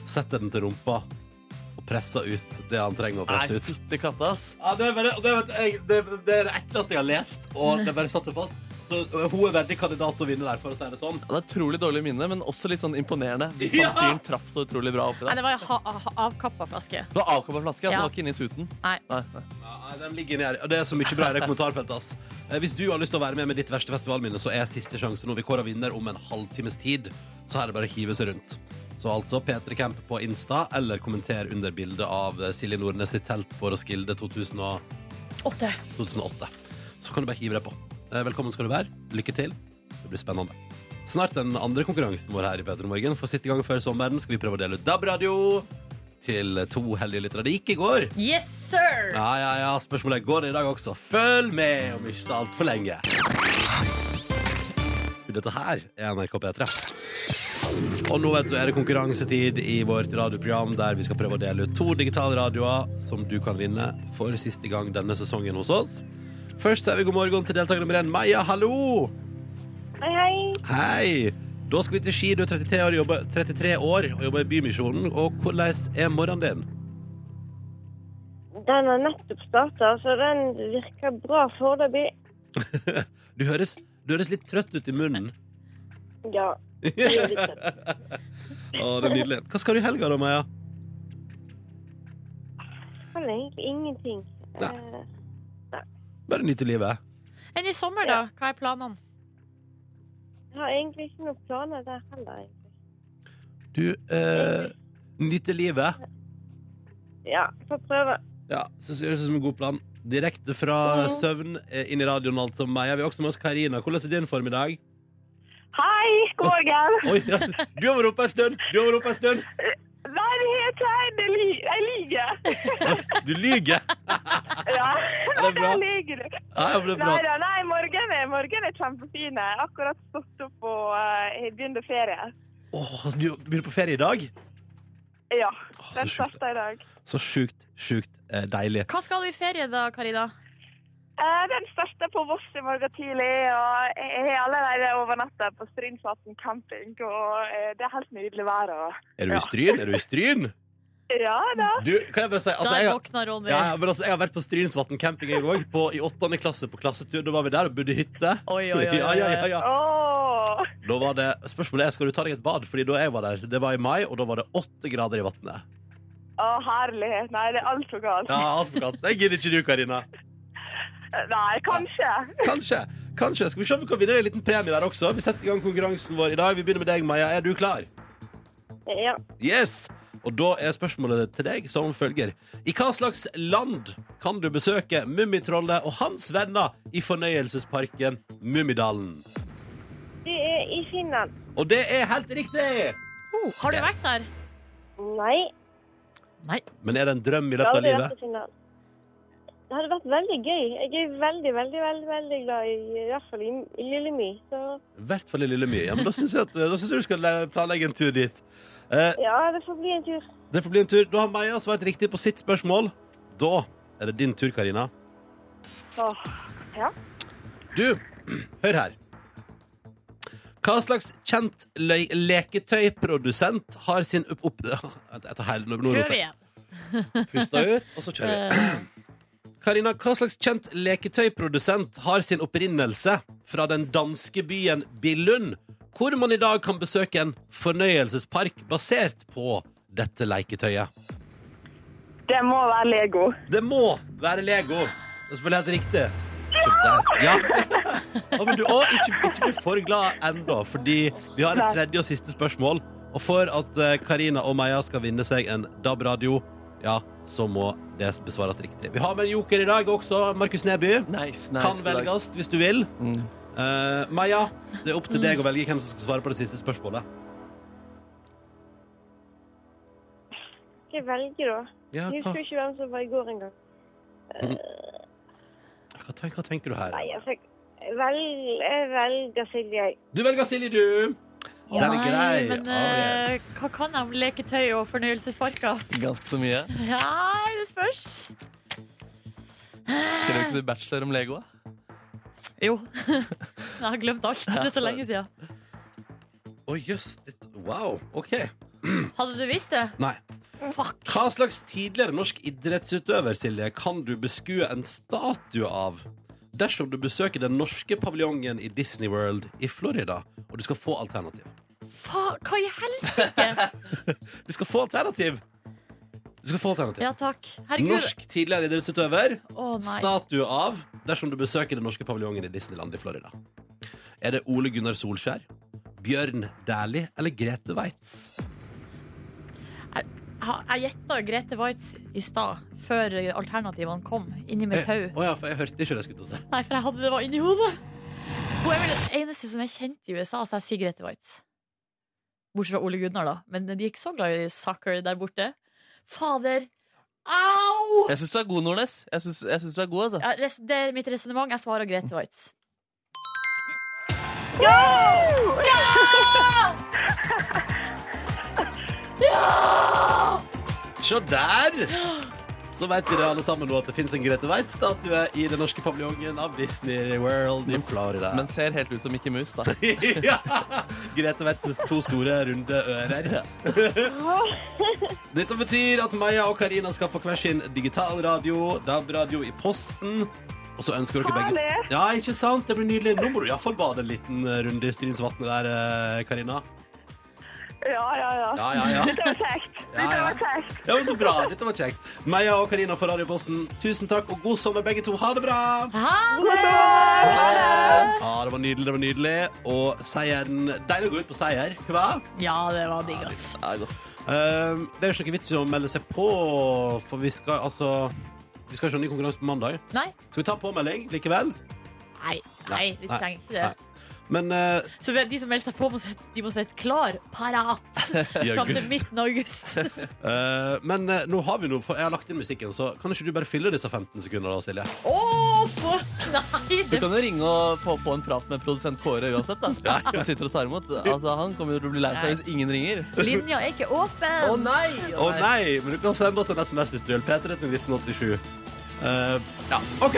A: setter den til rumpa og presser ut det han trenger å
C: Nei,
A: presse ut.
C: fytti katta, ass.
A: Ja, det, er bare, og det, vet jeg, det, det er det ekleste jeg har lest, og det bare satt seg fast. Så øh, hun er veldig kandidat til å vinne der, for å si det sånn.
C: Ja, Det er utrolig dårlig minne, men også litt sånn imponerende. Hvis
A: Ja!
C: han fyren traff så utrolig bra oppi
B: Nei,
C: der.
B: det var en ha- ha- avkappa flaske.
C: Det var avkappa flaske, altså,
B: Ja.
C: det var ikke inni tuten.
B: Nei.
C: Nei, nei.
A: Ja, nei, den ligger inni her. Og det er så mye bra i det kommentarfeltet, ass. Eh, Hvis du har lyst til å være med med ditt verste festivalminne, så er siste sjanse nå. Vi kårer vinner om en halvtimes tid, så her er det bare å hive seg rundt. Så altså P3 Camp på Insta, eller kommenter under bildet av eh, Silje Nordnes sitt telt på Roskilde 2000 og
B: Åtte.
A: 2008. Så kan du bare hive deg på. Eh, Velkommen skal du være. Lykke til. Det blir spennende. Snart den andre konkurransen vår her i Peter Morgen. For siste gang før sommeren skal vi prøve å dele ut DAB-radio til to heldige lyttere. Det gikk i går.
B: Yes, sir!
A: Ja, ja, ja. Spørsmålet er, går det i dag også. Følg med om ikke så altfor lenge. Dette her er NRK P3. Og nå vet du er det konkurransetid i vårt radioprogram der vi skal prøve å dele ut to digitale radioer som du kan vinne for siste gang denne sesongen hos oss. Først sier vi god morgen til deltaker nummer én, Maja. Hallo!
F: Hei, hei.
A: Hei! Da skal vi til Ski. Du er 33 år, og jobber, 33 år og jobber i Bymisjonen. Og hvordan er morgenen din?
F: Den har nettopp starta, så den virker bra foreløpig.
A: Du høres, du høres litt trøtt ut i munnen.
F: Ja. det er litt søtt.
A: Å, det er nydelig. Hva skal du i helga da, Maja?
F: Kan egentlig ingenting.
A: Nei.
F: Eh,
A: Bare nyte livet.
B: Enn i sommer, da? Hva er planene?
F: Jeg har egentlig ikke noen planer der heller. egentlig.
A: Du eh, nyter livet.
F: Ja, får prøve.
A: Ja, så høres det ut som en god plan. Direkte fra søvn eh, inn i radioen og alt som Maja. Vi har også med oss Karina. Hvordan er din form i dag?
F: Hei, god morgen.
A: Oi, ja, du har vært oppe en stund! Du har vært oppe en stund!
F: Nei, det heter jeg. Jeg liker.
A: Du lyver!
F: Ja,
A: det er bra.
F: jeg liker.
A: Ja, ja, men det er bra.
F: Neida, nei, morgen er, morgen er kjempefin. Jeg har akkurat stått opp og eh, begynner ferie.
A: Åh, du begynner på ferie i dag?
F: Ja,
A: Åh, så
F: den
A: sjukt,
F: starta i dag.
A: så sjukt, sjukt eh, deilig.
B: Hva skal du i ferie, da, Karina?
F: Eh, Den starta på Voss i morgen tidlig, og jeg har allerede overnatta på Strynsvatn camping. Og eh, det er helt nydelig vær. Og...
A: Er du i Stryn? Er du i Stryn?
F: Ja da.
A: Du, kan jeg bare si altså,
B: Der
A: jeg, har-
B: våkna Ronny.
A: ja, ja, men altså, jeg har vært på Strynsvatn camping jeg òg, i åttende klasse på klassetur. Da var vi der og bodde i hytte.
B: Oi, oi, oi, oi, oi.
A: Ja, ja, ja, ja.
F: Åh.
A: Da var det, spørsmålet er, skal du ta deg et bad? Fordi da jeg var der, det var i mai, og da var det åtte grader i vannet.
F: Å, herlighet. Nei, det er altfor galt.
A: Ja, alt for kaldt. Det gidder ikke du, Karina.
F: Nei, kanskje.
A: Kanskje. Kanskje. Skal vi se om vi kan vinne en liten premie der også? Vi setter i gang konkurransen vår i dag. Vi begynner med deg, Maja. Er du klar?
F: Ja.
A: Yes! Og da er spørsmålet til deg som følger. I hva slags land kan du besøke Mummitrollet og hans venner i fornøyelsesparken Mummidalen?
F: Det er i Finland.
A: Og det er helt riktig!
B: Oh, har du
A: Yes.
B: vært der?
F: Nei.
B: Nei.
A: Men er det en drøm i løpet av livet?
F: Finland. Det hadde vært veldig gøy. Jeg er veldig, veldig, veldig, veldig glad i, i hvert fall i, i Lillemy. Så
A: I hvert fall i Lillemyr. Ja, men da syns jeg, at- da synes jeg du skal le- planlegge en tur dit. Eh,
F: ja, det får bli en tur.
A: det får bli en tur. Da har Maja svart riktig på sitt spørsmål. Da er det din tur, Karina.
F: Åh. Ja.
A: Du, hør her. Hva slags kjent le leketøyprodusent har sin opp... opp jeg tar hele, nå, nå,
B: Prøv igjen.
A: Pusta ut, og så kjører vi. Karina, hva slags kjent leketøyprodusent har sin opprinnelse fra den danske byen Billund, hvor man i dag kan besøke en fornøyelsespark basert på dette leketøyet?
F: Det må være Lego.
A: Det må være Lego. Det er selvfølgelig helt riktig. Så der. Ja. Å, men du, å, ikke, ikke bli for glad ennå, fordi vi har et tredje og siste spørsmål. Og for at eh, Karina og Maja skal vinne seg en DAB-radio, ja, så må det besvares riktig. Vi har med en joker i dag også. Markus Neby.
C: Nice, nice.
A: Kan
C: god dag.
A: velges hvis du vil.
C: Mm.
A: Eh, Maja, det er opp til deg å velge hvem som skal svare på det siste spørsmålet.
F: Skal jeg velge, da?
A: Ja,
F: Jeg
A: hva,
F: husker ikke hvem som var i går engang.
A: hva, tenker, hva tenker du her?
F: Nei, altså jeg vel, Jeg velger Silje.
A: Du velger Silje, du. Den er grei.
B: Nei, men
A: Oh, yes.
B: eh, hva kan de om leketøy og fornøyelsesparker?
C: Ganske så mye.
B: Nei, det spørs.
C: Skrev ikke du bachelor om Lego? da?
B: Jo. Jeg har glemt alt. Det er så lenge siden.
A: Å, jøss. det- Wow. OK.
B: Hadde du visst det?
A: Nei.
B: Fuck.
A: Hva slags tidligere norsk idrettsutøver Silje, kan du beskue en statue av dersom du besøker den norske paviljongen i Disney World i Florida? Og du skal få alternativ.
B: Fa hva i helsike?
A: Du skal få alternativ! Du skal få alternativ.
B: Ja takk. Herregud.
A: Norsk tidligere idrettsutøver.
B: Å nei.
A: Statue av dersom du besøker den norske paviljongen i Disneyland i Florida. Er det Ole Gunnar Solskjær, Bjørn Dæhlie eller Grete Waitz?
B: Ha- Jeg gjetta Grete Waitz i stad, før alternativene kom, inni mitt
A: Jeg-
B: hode.
A: Eh, Å ja, for jeg hørte ikke det jeg skulle til å si.
B: Nei, for jeg hadde det var inni hodet. Hun er vel den eneste som er kjent i USA, så jeg sier Grete Waitz. Bortsett fra Ole Gunnar, da. Men de er ikke så glad i soccer der borte. Fader. Au!
C: Jeg syns du er god, Nordnes. Jeg synes, jeg synes du er god, altså.
B: Ja, res det er mitt resonnement. Jeg svarer Grete Waitz.
A: Se der! Så vet vi det alle sammen nå at det fins en Grete Waitz-statue i den norske paviljongen av Disney World i
C: Men-
A: Florida.
C: Men ser helt ut som Mickey Mouse, da.
A: ja! Grete Waitz med to store, runde ører. Dette betyr at Maja og Karina skal få hver sin digital radio, DAB-radio i posten. Og så ønsker dere begge
F: Herlig!
A: Ja, ikke sant? Det blir nydelig. Nå må du iallfall bade en liten eh, runde i Strynsvatnet der, eh, Karina.
F: Ja, ja, ja.
A: Ja, ja, ja.
F: Det var kjekt.
A: Ja,
F: Det
A: ja.
F: var kjekt.
A: Det var så bra. Dette var kjekt. Maja og Karina for Radioposten, tusen takk og god sommer, begge to. Ha det bra!
B: Ha det!
F: God dag! Ha det!
A: Ja, det var nydelig, det var nydelig. Og seieren Deilig å gå ut på seier, ikke hva?
B: Ja, det var digg, ass.
C: Det er godt.
A: Ehm, det er jo ikke noe vits i å melde seg på, for vi skal altså Vi skal ikke ha ny konkurranse på mandag.
B: Nei.
A: Skal vi ta påmelding likevel?
B: Nei, nei, vi
A: Nei.
B: trenger ikke det.
A: Men eh,
B: Så vi- de som melder seg på, må sette, de må sette klar, parat,
A: i
B: fram til
A: august
B: midten av august.
A: Eh, Men eh, nå har vi noe, for jeg har lagt inn musikken, så kan ikke du bare fylle disse 15 sekundene, da, Silje?
B: Å, fuck! Nei!
C: Du
B: Det,
C: kan jo ringe og få på en prat med produsent Kåre uansett. da Du sitter og tar imot Altså Han kommer jo til å bli lei seg hvis ingen ringer.
B: linja er ikke åpen!
C: nei!
A: Å nei! Men du kan sende oss en SMS hvis du vil. P3 til 1987. Eh, ja, OK!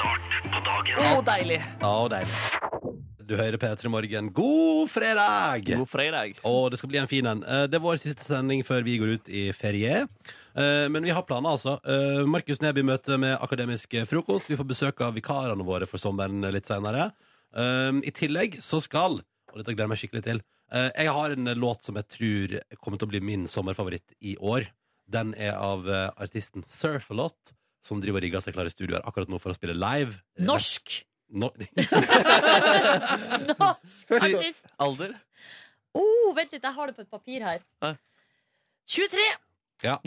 C: Oh, deilig!
A: Ja, og deilig. Du hører P3 Morgen. God fredag!
C: God fredag.
A: Og det skal bli en fin en. Eh, Det er vår siste sending før vi går ut i ferie. Eh, Men vi har planer, altså. Eh, Markus Neby møter med Akademisk frokost. Vi får besøk av vikarene våre for sommeren eh, litt seinere. I tillegg så skal Og dette gleder jeg meg skikkelig til. eh, Jeg har en låt som jeg tror kommer til å bli min sommerfavoritt i år. Den er av eh, artisten Surf-A-Lot, som driver og rigger seg klar i studio her akkurat nå for å spille live. Eh,
B: Norsk!
A: Nå-
B: Norsk artist!
C: Alder?
B: Oh, vent litt, jeg har det på et papir her.
C: Ja.
B: 23!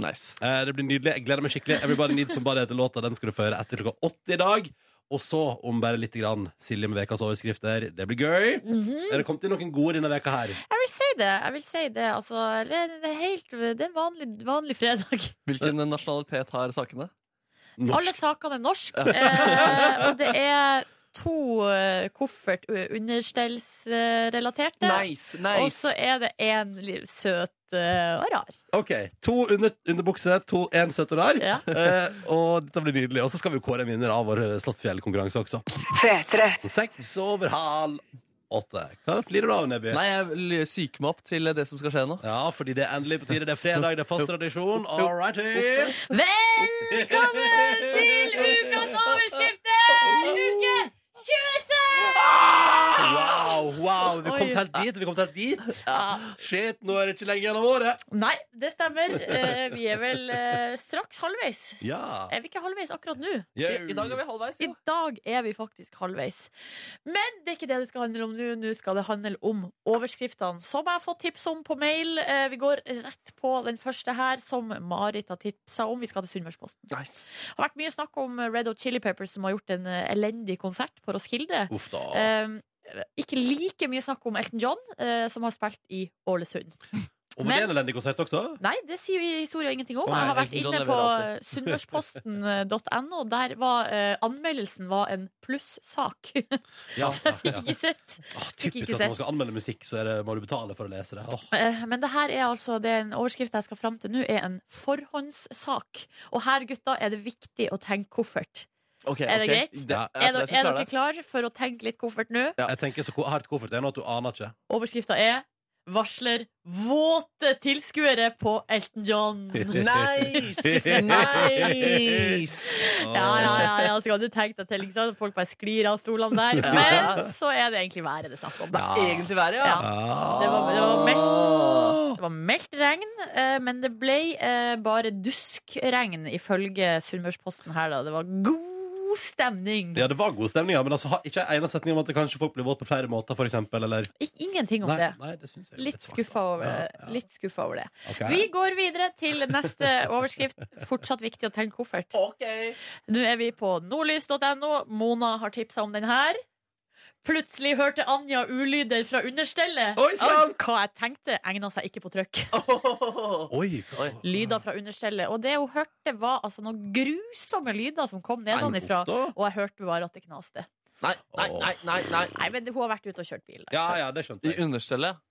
C: Nice.
A: Eh, Det blir nydelig. Jeg gleder meg skikkelig. Everybody Needs Somebody heter låta. Den skal du føre etter klokka åtte i dag. Og så, om bare lite grann, Silje med ukas overskrifter. Det blir gøy. Er det kommet inn noen gode denne veka her?
B: Mhm. Jeg vil si det. jeg vil si Det altså, det, det er, helt, det er en vanlig, vanlig fredag.
C: Hvilken nasjonalitet har sakene?
A: Norsk.
B: Alle sakene er norsk eh, og det er to eh, koffert eh, understellsrelaterte.
C: Nice,
B: Og så er det én søt eh, og rar.
A: OK. To under, underbukser, to én søtorar.
B: Ja.
A: Eh, og dette blir nydelig. Og så skal vi jo kåre en vinner av vår eh, Slottsfjell-konkurranse også. Seks over halv åtte. Hva flirer du av, Nebby?
C: Nei, jeg l- syker meg opp til det som skal skje nå.
A: Ja, fordi det er endelig på tide. Det er fredag, det er fast tradisjon. All righty.
B: Velkommen til ukas overskrifter! Uke 26!
A: Wow, wow. Vi kom
B: Oi.
A: helt dit. Vi kom helt dit. Shit, nå er det ikke lenger enn av året.
B: Nei, det stemmer. Eh, vi er vel eh, straks halvveis.
A: Ja.
B: Er vi ikke halvveis akkurat nå?
A: Yeah.
C: I, I dag er vi halvveis.
B: I
C: Jo.
B: dag er vi faktisk halvveis. Men det er ikke det det skal handle om nå. Nå skal det handle om overskriftene, som jeg har fått tips om på mail. Eh, Vi går rett på den første her, som Marit har tipsa om. Vi skal til Sunnmørsposten.
C: Nice.
B: Det har vært mye snakk om Red Hot Chili Peppers, som har gjort en eh, elendig konsert på Roskilde.
A: Uff da.
B: Eh, Ikke like mye snakk om Elton John, eh, som har spilt i Ålesund.
A: og var det en elendig konsert også?
B: Nei, det sier jo historien ingenting om.
A: Å, nei,
B: Jeg har vært
C: Elton John
B: inne
C: lever
B: på eh,
C: alltid.
B: sunnmørsposten.no. Der var eh, anmeldelsen var en plussak.
C: Ah,
A: Ja.
B: Så jeg fikk ikke sett.
A: Åh,
B: Fikk
A: typisk at når
B: ikke
A: man
B: sett.
A: skal anmelde musikk, så er det, må du betale for å lese det. Åh.
B: Eh, Men det her er altså det er en overskrift jeg skal fram til nå, er en forhåndssak. Og her, gutta, er det viktig å tenke koffert.
C: Ok,
B: Er det
C: ok.
B: greit?
C: Ja, jeg
B: Er,
C: tror
B: dere-
C: jeg skal
B: er
C: klare
B: dere
C: det.
B: klar for å tenke litt koffert nå?
C: Ja.
A: Jeg tenker så ko- hardt koffert det er nå at du aner ikke.
B: Overskrifta er 'Varsler våte tilskuere på Elton John'.
C: Nice! Nice!
B: Ja, ja, ja, ja, så kan du tenke deg til ikke sant? Folk bare sklir av stolene der Men så er det egentlig været det er snakk om da.
C: Egentlig verre, ja.
B: Ja.
A: Ah.
B: Det var, det var meldt det var meldt regn, eh, men det ble eh, bare duskregn ifølge Sunnmørsposten her da. Det var god stemning.
A: Ja, det var god stemning, ja, men altså, ha- ikke en eneste setning om at det kanskje folk blir våt på flere måter, for eksempel, eller
B: Ik ingenting om
A: Nei,
B: det.
A: nei, det synes jeg er
B: Litt
A: svakt,
B: skuffa
A: da.
B: over,
A: Ja, ja.
B: litt skuffa over det.
A: Ok.
B: Vi går videre til neste overskrift. Fortsatt viktig å tenke koffert. Nå er vi på nordlys.no. Mona har tipsa om den her. Plutselig hørte Anja ulyder fra understellet.
A: Oi, sann!
B: Alt Hva jeg tenkte, egna seg ikke på trykk.
A: Oi.
C: Oi.
B: Lyder fra understellet. Og det hun hørte, var altså noen grusomme lyder som kom nedenfra.
A: Nei, uff da.
B: Og jeg hørte bare at det knaste.
C: Nei, nei, nei, nei, nei.
B: Nei, men hun har vært ute og kjørt bil.
A: Ja, ja, det skjønte
C: I
A: jeg.
C: understellet?
B: Eh,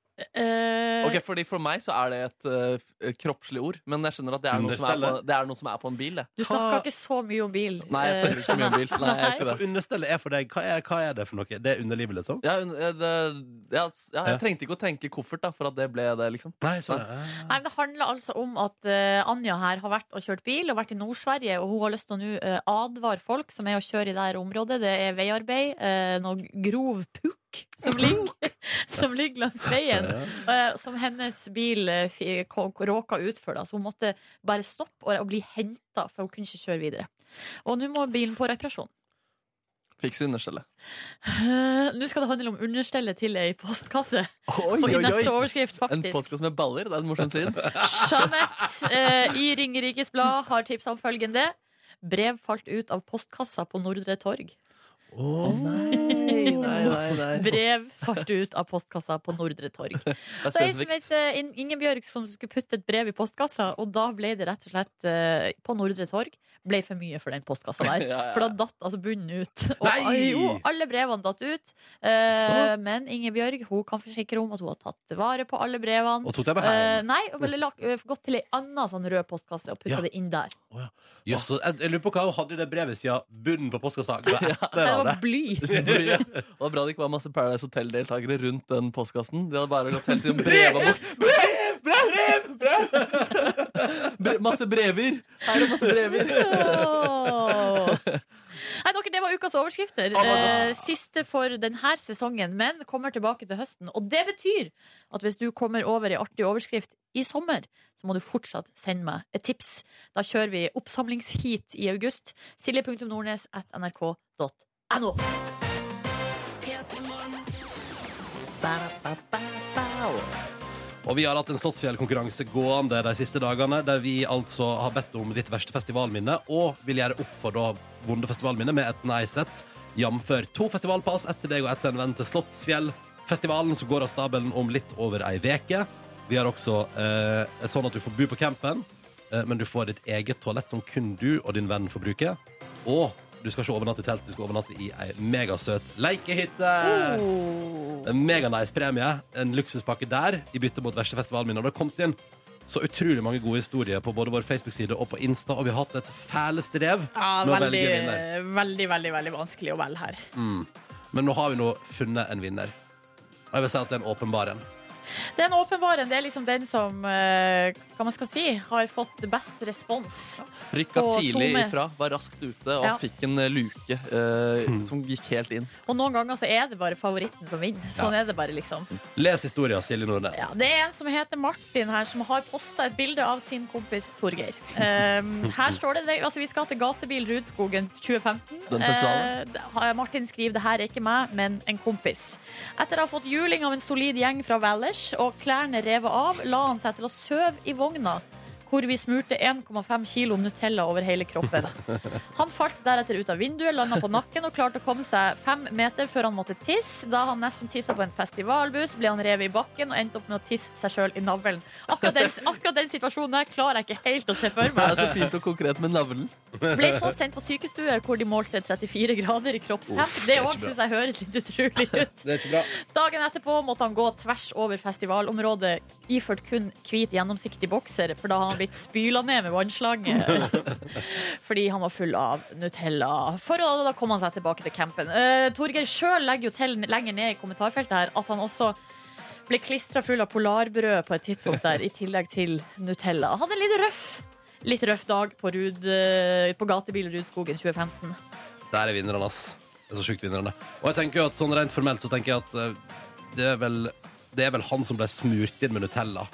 C: Eh, Ok, fordi For meg så er det et eh, f- eh, kroppslig ord, men jeg skjønner at det er noe som er på,
A: Understellet.
C: det er noe som er på en bil. Det.
B: Du snakka ikke så mye om bil.
C: Nei, jeg
B: Eh,
C: snakker ikke så mye om bil. Nei, jeg gjør ikke det.
A: For understellet er for deg. Hva er, hva er det for noe? Det er underlivet, liksom?
C: Ja, un- eh, det, ja, s- ja,
A: Ja.
C: jeg trengte ikke å tenke koffert da, for at det ble det, liksom.
A: Nei, sånn. ja.
B: Nei, men Det handler altså om at eh, Anja her har vært og kjørt bil og vært i Nord-Sverige. Og hun har lyst til å nå eh, advare folk som er og kjører i det her området. Det er veiarbeid. eh, noe grov pukk som ligger, som ligger langs veien. eh, som hennes bil eh, fi- ko- råka utfor. Da. Så hun måtte bare stoppe og, og bli henta, for hun kunne ikke kjøre videre. Og nå må bilen på reparasjon.
C: Fikse understellet.
B: Eh, nå skal det handle om understellet til ei postkasse.
C: Oi,
B: Og i neste overskrift,
C: En
B: faktisk.
C: podcast med baller, det er en morsom syn.
B: Jeanette eh, i Ringerikes Blad har tipsa om følgende. Brev falt ut av postkassa på Nordre Torg.
C: Nei, nei, nei. nei.
B: Brev falt ut av postkassa på Nordre Torg.
C: Det er
B: Så ei som
C: spesifikt.
B: het eh, In- Ingebjørg som skulle putte et brev i postkassa, og da ble det rett og slett eh, på Nordre Torg ble for mye for den postkassa der.
C: Ja, ja.
B: For da datt altså bunnen ut. Og
A: Nei!
B: jo, alle brevene datt ut. Eh, men Ingebjørg hun kan forsikre om at hun har tatt vare på alle brevene.
A: Og tok dem med
B: Eh,
A: hjem.
B: nei, hun ville lagt- eh, gått til ei anna sånn rød postkasse og putta
A: Ja.
B: det inn der.
C: Eh,
A: Jøss, så jeg, jeg lurer på hva hun hadde i det brevet siden bunnen på postkassa. ga
B: Det
A: Etter av det.
B: var bly.
C: Det var bra det ikke var masse Paradise Hotel-deltakere rundt den postkassen. De hadde bare gått helt siden brev Brev! Brev! Brev! Masse brever! Her er det masse brever.
B: Åh. Nei, dere, Det var ukas overskrifter.
C: Å, hva
B: Eh, siste for denne sesongen, men kommer tilbake til høsten. Og det betyr at hvis du kommer over ei artig overskrift i sommer, så må du fortsatt sende meg et tips. Da kjører vi oppsamlingsheat i august. Silje.nordnes at nrk.no.
A: Og vi har hatt en Slottsfjell-konkurranse gående de siste dagene, der vi altså har bedt om ditt verste festivalminne, og vil gjøre opp for da vonde festivalminne med et nei-sett, jamfør to festivalpass etter deg og etter en venn til Slottsfjell-festivalen, som går av stabelen om litt over ei veke. Vi har også eh, sånn at du får bo på campen, eh, men du får ditt eget toalett som kun du og din venn får bruke. Og du skal ikke overnatte i telt, du skal overnatte i ei megasøt leikehytte! En meganice premie, en luksuspakke der, i bytte mot verste festivalminner. Det har kommet inn så utrolig mange gode historier på både vår Facebook-side og på Insta, og vi har hatt et fæle strev
B: Ja, eh,
A: med å velge en vinner.
B: veldig, veldig, veldig vanskelig å velge her.
A: Men nå har vi nå funnet en vinner. Og jeg vil si at det er en åpenbar en.
B: Det er en åpenbar en. Det er liksom den som eh, hva man skal si, har fått best respons.
C: Rykka
B: Og
C: tidlig
B: zoome.
C: ifra, var raskt ute og
B: Ja.
C: fikk en eh, luke eh, som gikk helt inn.
B: Og noen ganger så er det bare favoritten som vinner. Sånn er det bare, liksom.
A: Les historien, Silje Nordnes.
B: Ja, det er en som heter Martin her, som har posta et bilde av sin kompis Torgeir. Um, her står det, det altså Vi skal til Gatebil Rudskogen 2015.
C: Den festivalen.
B: Eh, det- Martin skriver det her er ikke meg, men en kompis. Etter å ha fått juling av en solid gjeng fra Valers og klærne revet av, la han seg til å sove i vogna. Hvor vi smurte 1,5 kilo Nutella over hele kroppen. Han falt deretter ut av vinduet, landa på nakken og klarte å komme seg fem meter før han måtte tisse. Da han nesten tissa på en festivalbuss, ble han revet i bakken og endte opp med å tisse seg sjøl i navlen. Akkurat den, akkurat den situasjonen der klarer jeg ikke helt å se for
C: Det
B: meg.
C: er så fint og konkret med navlen.
B: Ble så sendt på sykestue, hvor de målte 34 grader i kroppstemp.
A: Uff, det
B: Det
A: er ikke
B: òg
A: bra.
B: syns jeg høres litt utrolig ut.
A: Det er ikke bra.
B: Dagen etterpå måtte han gå tvers over festivalområdet iført kun hvit, gjennomsiktig bokser, for da har han blitt spyla ned med vannslange fordi han var full av Nutella. For å, da kom han seg tilbake til campen. Uh, Torgeir sjøl legger jo til lenger ned i kommentarfeltet her at han også ble klistra full av polarbrød på et tidspunkt der, i tillegg til Nutella. Han hadde en litt røff, litt røff dag på, Rud, eh, på gatebil Rudskogen 2015.
A: Der er vinneren, ass. Det er så sjukt vinneren, det. Og jeg tenker jo at sånn rent formelt så tenker jeg at eh, det er vel, det er vel han som ble smurt inn med Nutella,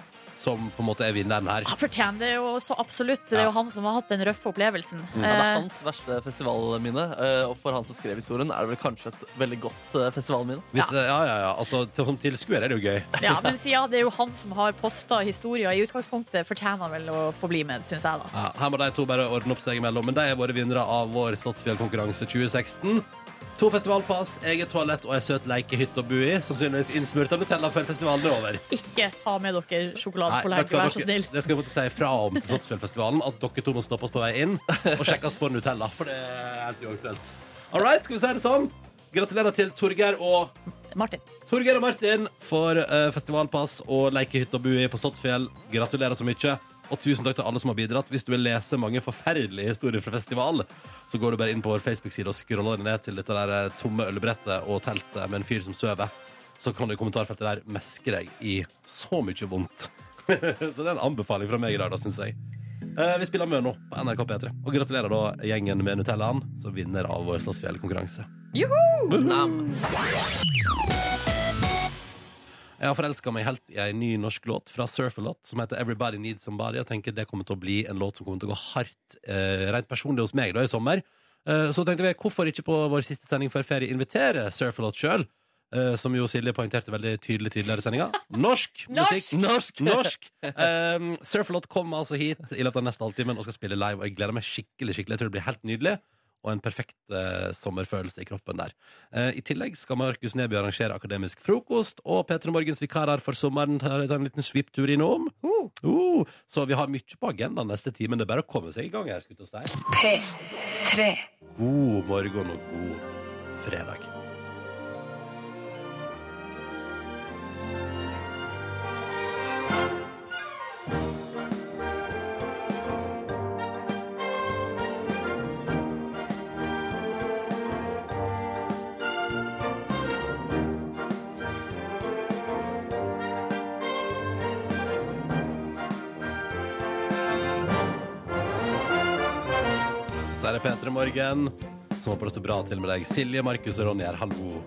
A: som på en måte er vinneren her.
B: Han fortjener det jo så absolutt. Det er jo han som har hatt den røffe opplevelsen.
C: Ja, det er
B: Eh,
C: hans verste festivalminne, eh, og for han som skrev historien, er det vel kanskje et veldig godt eh, festivalminne.
A: Hvis, ja, ja, ja. Altså, til- som tilskuer er det jo gøy.
B: ja, men siden det er jo han som har posta historier i utgangspunktet, fortjener han vel å få bli med, syns jeg, da.
A: Ja, her må de to bare ordne opp seg imellom, men de er våre vinnere av vår Slottsfjellkonkurranse 2016. To festivalpass, eget toalett og ei søt lekehytte å bo i. Sannsynligvis innsmurt av Nutella før festivalen er over.
B: Ikke ta med dere
A: Nei, vet
B: sjokoladepålegg,
A: du hva,
B: vær så
A: dere-
B: snill.
A: Det skal jeg få til å si fra om til Slottsfjellfestivalen, at dere to må stoppe oss på vei inn og sjekke oss for Nutella, for det er helt uaktuelt. All right, skal vi si det sånn? Gratulerer til Torgeir og
B: Martin.
A: Torgeir og Martin får eh, festivalpass og lekehytte og bue på Slottsfjell. Gratulerer så mye. Og tusen takk til alle som har bidratt. Hvis du vil lese mange forferdelige historier fra festival, så går du bare inn på vår Facebook-side og scroller ned til dette der eh, tomme ølbrettet og teltet med en fyr som sover. Så kan du i kommentarfeltet der meske deg i så mye vondt. så det er en anbefaling fra meg i dag, da, syns jeg. Eh, vi spiller Mø nå på NRK P3. Og gratulerer da gjengen med Nutellaen, som vinner av vår Slottsfjell-konkurranse. Jeg har forelska meg helt i ei ny norsk låt fra Surferlot som heter 'Everybody Needs Somebody'. Jeg tenker det kommer til å bli en låt som kommer til å gå hardt eh, rent personlig hos meg da i sommer. Eh, så tenkte vi hvorfor ikke på vår siste sending før ferie invitere Surferlot sjøl? Eh, som jo Silje poengterte veldig tydelig tidligere i sendinga. Norsk musikk!
C: Norsk!
A: Norsk. Um, Surferlot kommer altså hit i løpet av neste halvtimen og skal spille live, og jeg gleder meg skikkelig. skikkelig Jeg tror det blir helt nydelig. og en perfekt eh, sommerfølelse i kroppen der. Eh, I tillegg skal Markus Neby arrangere akademisk frokost, og P3 Morgens vikarer for sommeren tar tar en liten sviptur innom. Uh, så vi har mye på agendaen neste time. Det er bare å komme seg i gang her. skutt hos deg.
E: P3.
A: God morgen og god fredag. Der er P3 Morgen, som håper det står bra til med deg. Silje, Markus og Ronny her, hallo.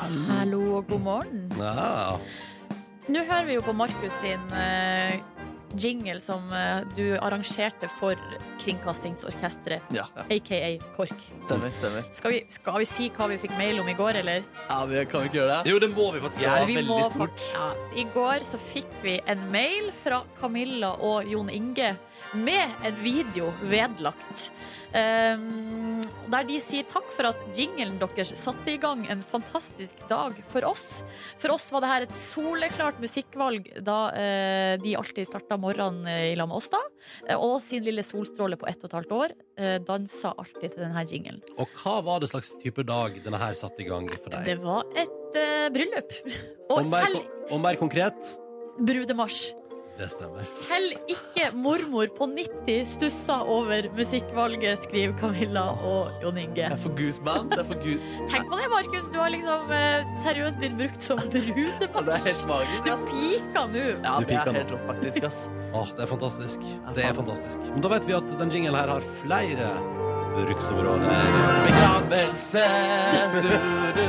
A: Ah.
B: Hallo og god morgen.
A: Ja.
B: Nå hører vi jo på Markus sin eh, jingle som eh, du arrangerte for Kringkastingsorkestret,
C: Ja,
B: aka KORK.
C: stemmer. stemmer
B: Skal vi, skal vi si hva vi fikk mail om i går, eller?
C: Ja, vi Kan vi ikke gjøre det?
A: Jo, det må vi faktisk
C: Ja,
A: gjøre.
B: Vi
C: veldig
B: må fort-
C: stort.
B: Ja. I går så fikk vi en mail fra Camilla og Jon Inge med en video vedlagt. Um, der de sier takk for at jinglen deres satte i gang en fantastisk dag for oss. For oss var det her et soleklart musikkvalg da eh, de alltid starta morgenen eh, i lag med oss, da. Eh, Og sin lille solstråle på ett og et halvt år eh, dansa alltid til denne jinglen.
A: Og hva var det slags type dag denne her satte i gang for
B: Det
A: deg?
B: var et eh, bryllup. Og
A: Og mer,
B: selv
A: og mer konkret,
B: brudemarsj.
A: det stemmer.
B: Selv ikke mormor på 90 stussa over musikkvalget, skriver Camilla og Jon Inge.
C: Jeg får goosebumps. Jeg får goose...
B: Tenk på det, Markus. Du har liksom eh, seriøst blitt brukt som
C: Ja, Det er
B: brudebart.
C: helt magisk.
B: Du
C: ass.
B: pika nå.
C: Ja,
A: Du
C: det
A: pika
C: er
A: nå.
C: helt rått, faktisk. ass
A: Åh, det er fantastisk.
C: Ja,
A: Det er
C: faen.
A: fantastisk. Men da vet vi at den jinglen her har flere bruksområder.
C: Begravelse du, du,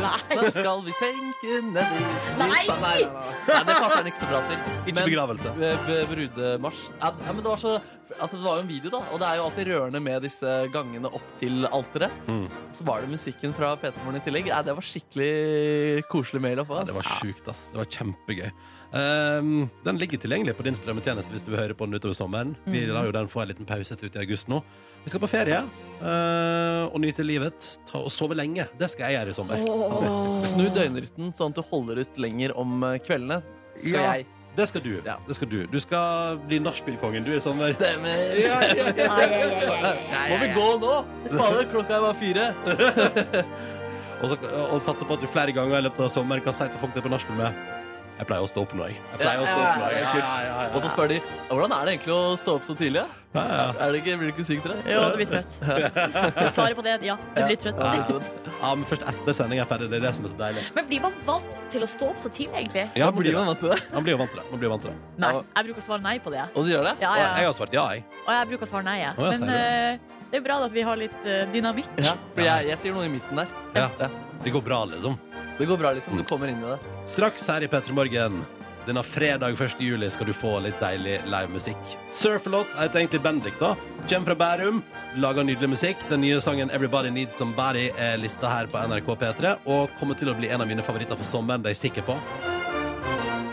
B: Nei.
C: Den skal vi senke ned i Nei,
B: Nei!
C: nei, nei, nei, det passer den ikke så bra til.
A: Ikke begravelse.
C: eh, b- Brudemarsj. Ja, ja, men det var så Altså, det var jo en video, da, og det er jo alltid rørende med disse gangene opp til alteret.
A: Mm.
C: Så var det musikken fra P3morgen i tillegg. Ja, det var skikkelig koselig mail å få. ass.
A: Det var sjukt, ass. Det var kjempegøy. Ehm, den ligger tilgjengelig på din strømmetjeneste hvis du hører på den utover sommeren. Vi lar jo den få en liten pause til ut i august nå. Vi skal på ferie eh, og nyte livet. Ta og sove lenge. Det skal jeg gjøre i sommer.
C: Snu døgnrytten sånn at du holder ut lenger om eh, kveldene. Skal
A: Ja.
C: jeg.
A: Det skal du.
C: Ja.
A: Det skal du. du skal bli nachspielkongen du i sommer.
C: Stemmer.
B: Ai, ai, ai, ai, ai.
C: Må vi gå nå? Fader, klokka er bare fire.
A: Og, så, og satse på at du flere ganger i løpet av sommeren kan si til folk du er på nachspiel med Jeg pleier å stå opp nå, jeg. Jeg pleier å stå opp nå, jeg.
C: Ja, ja, ja, ja. Og så spør de hvordan er det egentlig å stå opp så tidlig. ja? Er det ikke, blir du ikke syk, tror jeg?
B: Jo, du blir trøtt. Svaret på det er ja. Du blir trøtt.
A: Ja, men først etter sending er ferdig. Det er det som er så deilig.
B: Men blir man vant til å stå opp så tidlig, egentlig?
A: Ja,
C: Da blir
A: blir
C: man
A: det.
C: vant til det.
A: Man blir jo vant til det. Man blir jo vant til det.
B: Nei. Jeg bruker å svare nei på det. jeg.
C: Og så gjør det?
B: Ja,
A: Og jeg
B: ja.
A: har svart ja, jeg.
B: Og jeg bruker å svare nei, jeg.
A: Å, ja,
B: Men eh, det er bra at vi har litt eh, dynamikk.
C: Ja, for jeg, jeg sier noe i midten der.
A: Ja. Det går bra, liksom.
C: Det går bra,
G: Mm.
C: liksom. Du kommer inn i det.
A: Straks her i P3 Morgen. Denne fredag 1. juli skal du få litt deilig livemusikk. Surfalot heter egentlig Bendik, da. Kjem fra Bærum. Lager nydelig musikk. Den nye sangen 'Everybody Needs Somebody' er lista her på NRK P3 og kommer til å bli en av mine favoritter for sommeren, det er jeg sikker på.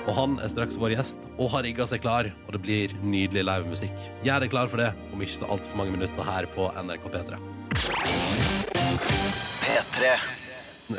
A: Og han er straks vår gjest og har rigga seg klar, og det blir nydelig livemusikk. Gjør deg klar for det om ikke så altfor mange minutter her på NRK P3.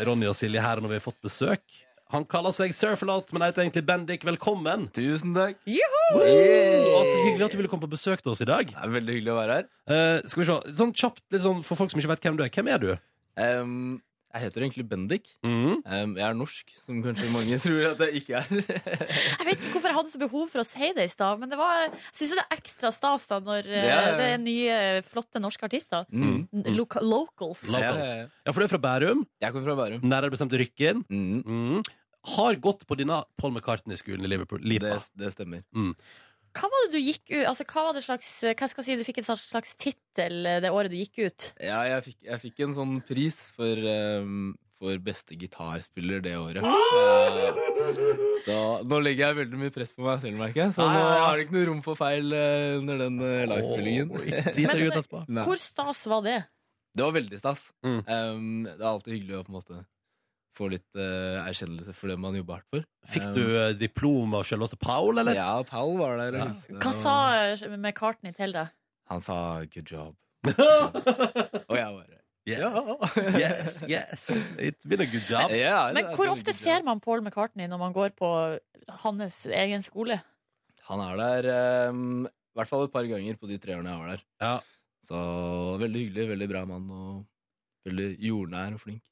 A: Ronny og Silje her når vi har fått besøk. Han kaller seg Surfalot, men heter egentlig Bendik. Velkommen!
G: Tusen takk.
A: Å, så hyggelig at du ville komme på besøk til oss i dag.
G: Det er veldig hyggelig å være her.
A: Eh, skal vi se, sånn kjapt litt sånn, For folk som ikke vet hvem du er, hvem er du? Mm.
G: Ehm, jeg heter egentlig Bendik. Ehm, jeg er norsk, som kanskje mange tror at jeg ikke er.
B: Jeg vet ikke hvorfor jeg hadde så behov for å si det i stad, men det var, jeg syns det er ekstra stas da når
G: Ja,
B: eh,
G: ja, ja.
B: det er nye, flotte norske artister.
G: Mm.
B: N- Loka locals.
A: La-
G: Ja, ja, ja.
A: Ja, for du er fra Bærum.
G: Jeg kommer fra Bærum.
A: Nærmere bestemt Rykken.
G: Mm.
A: Mm. Har gått på denne Paul McCartney-skolen i Liverpool. Lipa.
G: Det, det stemmer.
B: Hva var det du gikk ut Altså, hva var det slags Hva skal jeg si, du fikk en slags, slags tittel eh, det året du gikk ut?
G: Ja, jeg fikk, jeg fikk en sånn pris for, ehm, for beste gitarspiller det året. Ja. så nå legger jeg veldig mye press på meg selv, merker jeg. Så nå har det ikke noe rom for feil eh, under den eh, livespillingen.
A: Åh, ikke drit deg ut etterpå.
G: Nei.
B: Hvor stas var det?
G: Det var veldig stas.
A: Mm.
G: Ehm, det er alltid hyggelig å på en måte få litt eh, erkjennelse for det man jobber hardt for.
A: Fikk du eh, diplom av selveste Paul,
G: Ehm,
A: eller?
G: Ja, Paul var der og
A: Ja.
G: hilste.
B: Hva
G: og-
B: sa eh, McCartney til deg?
G: Han sa 'good job'. Og jeg bare
A: Yes. yes, yes. It's been a good job.
G: Ja,
B: Men hvor ofte ser man Paul McCartney når man går på hans egen skole?
G: Han er der ehm, i hvert fall et par ganger på de tre årene jeg var der.
A: Ja.
G: Så veldig hyggelig, veldig bra mann, og veldig jordnær og flink.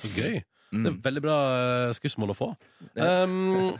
A: Så gøy. Det er
G: Mm.
A: veldig bra eh, skussmål å få.
G: Ja.
A: Um,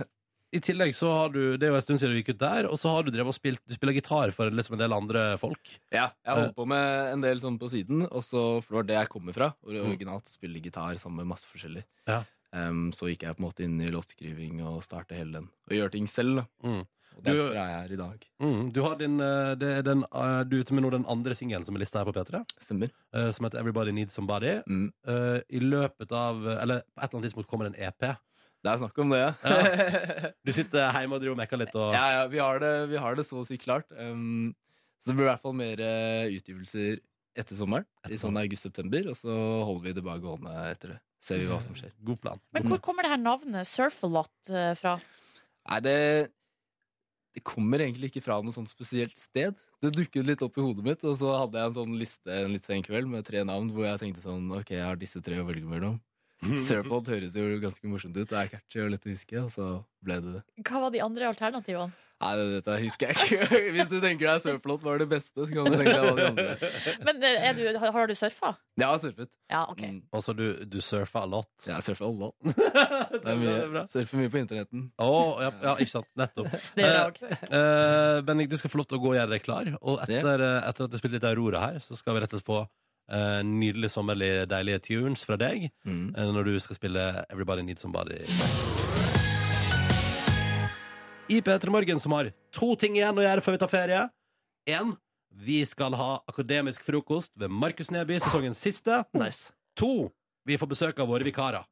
A: I tillegg så har du Det er jo en stund siden du gikk ut der, og så har du drevet og spilt Du spiller gitar for liksom en del andre folk.
G: Ja, jeg
A: Eh.
G: holdt på med en del sånn på siden, og så, for det var det jeg kommer fra. og det var Originalt spille gitar sammen med masse forskjellig.
A: Mm. Ja.
G: Ehm, så gikk jeg på en måte inn i låtskriving og startet hele den. Og gjør ting selv, da.
A: Mm.
G: Og
A: Du-
G: derfor er jeg her i dag.
A: Mm, du har din eh, det er den, eh, Du er ute med nå den andre singelen som er lista her på P3,
G: Stemmer.
A: eh, som heter Everybody Needs Somebody.
G: Mm.
A: Eh, I løpet av Eller på et eller annet tidspunkt kommer det en EP.
G: Det er snakk om det, ja.
A: Du sitter hjemme og driver og mekker litt og
G: Ja, ja, vi har det, vi har det så å si klart. Um, så det blir i hvert fall mer eh, utgivelser etter sommeren, i sånn august-september, og så holder vi det bak gående etter det. Ser vi hva som skjer.
A: God plan.
B: Men hvor kommer det her navnet Surf-a-lot eh, fra?
G: Nei, det, det kommer egentlig ikke fra noe sånt spesielt sted. Det dukket litt opp i hodet mitt, og så hadde jeg en sånn liste en litt sen kveld med tre navn, hvor jeg tenkte sånn, ok, jeg har disse tre å velge mellom. Surfhold høres jo ganske morsomt ut, det er catchy og lett å huske, og så ble det det.
B: Hva var de andre alternativene?
G: Nei, det- dette husker jeg ikke. Hvis du tenker deg surflåt var det beste, så kan du tenke deg hva de andre er.
B: Men eh, er du, har du surfa?
G: Jeg har surfet.
B: Ja, OK.
G: Mm.
A: Altså, du, du surfer a lot.
G: Jeg surfer all lot.
A: det
G: Det er
A: det er bra.
G: mye, surfer mye på internetten.
A: Å, ja, ja, ikke sant. Nettopp.
B: Det gjør jeg òg.
A: Eh, Bendik, du skal få lov til å gå og gjøre deg klar. Og etter, eh, etter at du spilte litt Aurora her, så skal vi rett og slett få eh, nydelige, sommerlige, deilige tunes fra deg
G: Mm.
A: eh, når du skal spille Everybody Needs Somebody. I P3 Morgen, som har to ting igjen å gjøre før vi tar ferie. En, vi skal ha akademisk frokost ved Markus Neby, sesongens siste.
C: Nice.
A: To, vi får besøk av våre vikarer.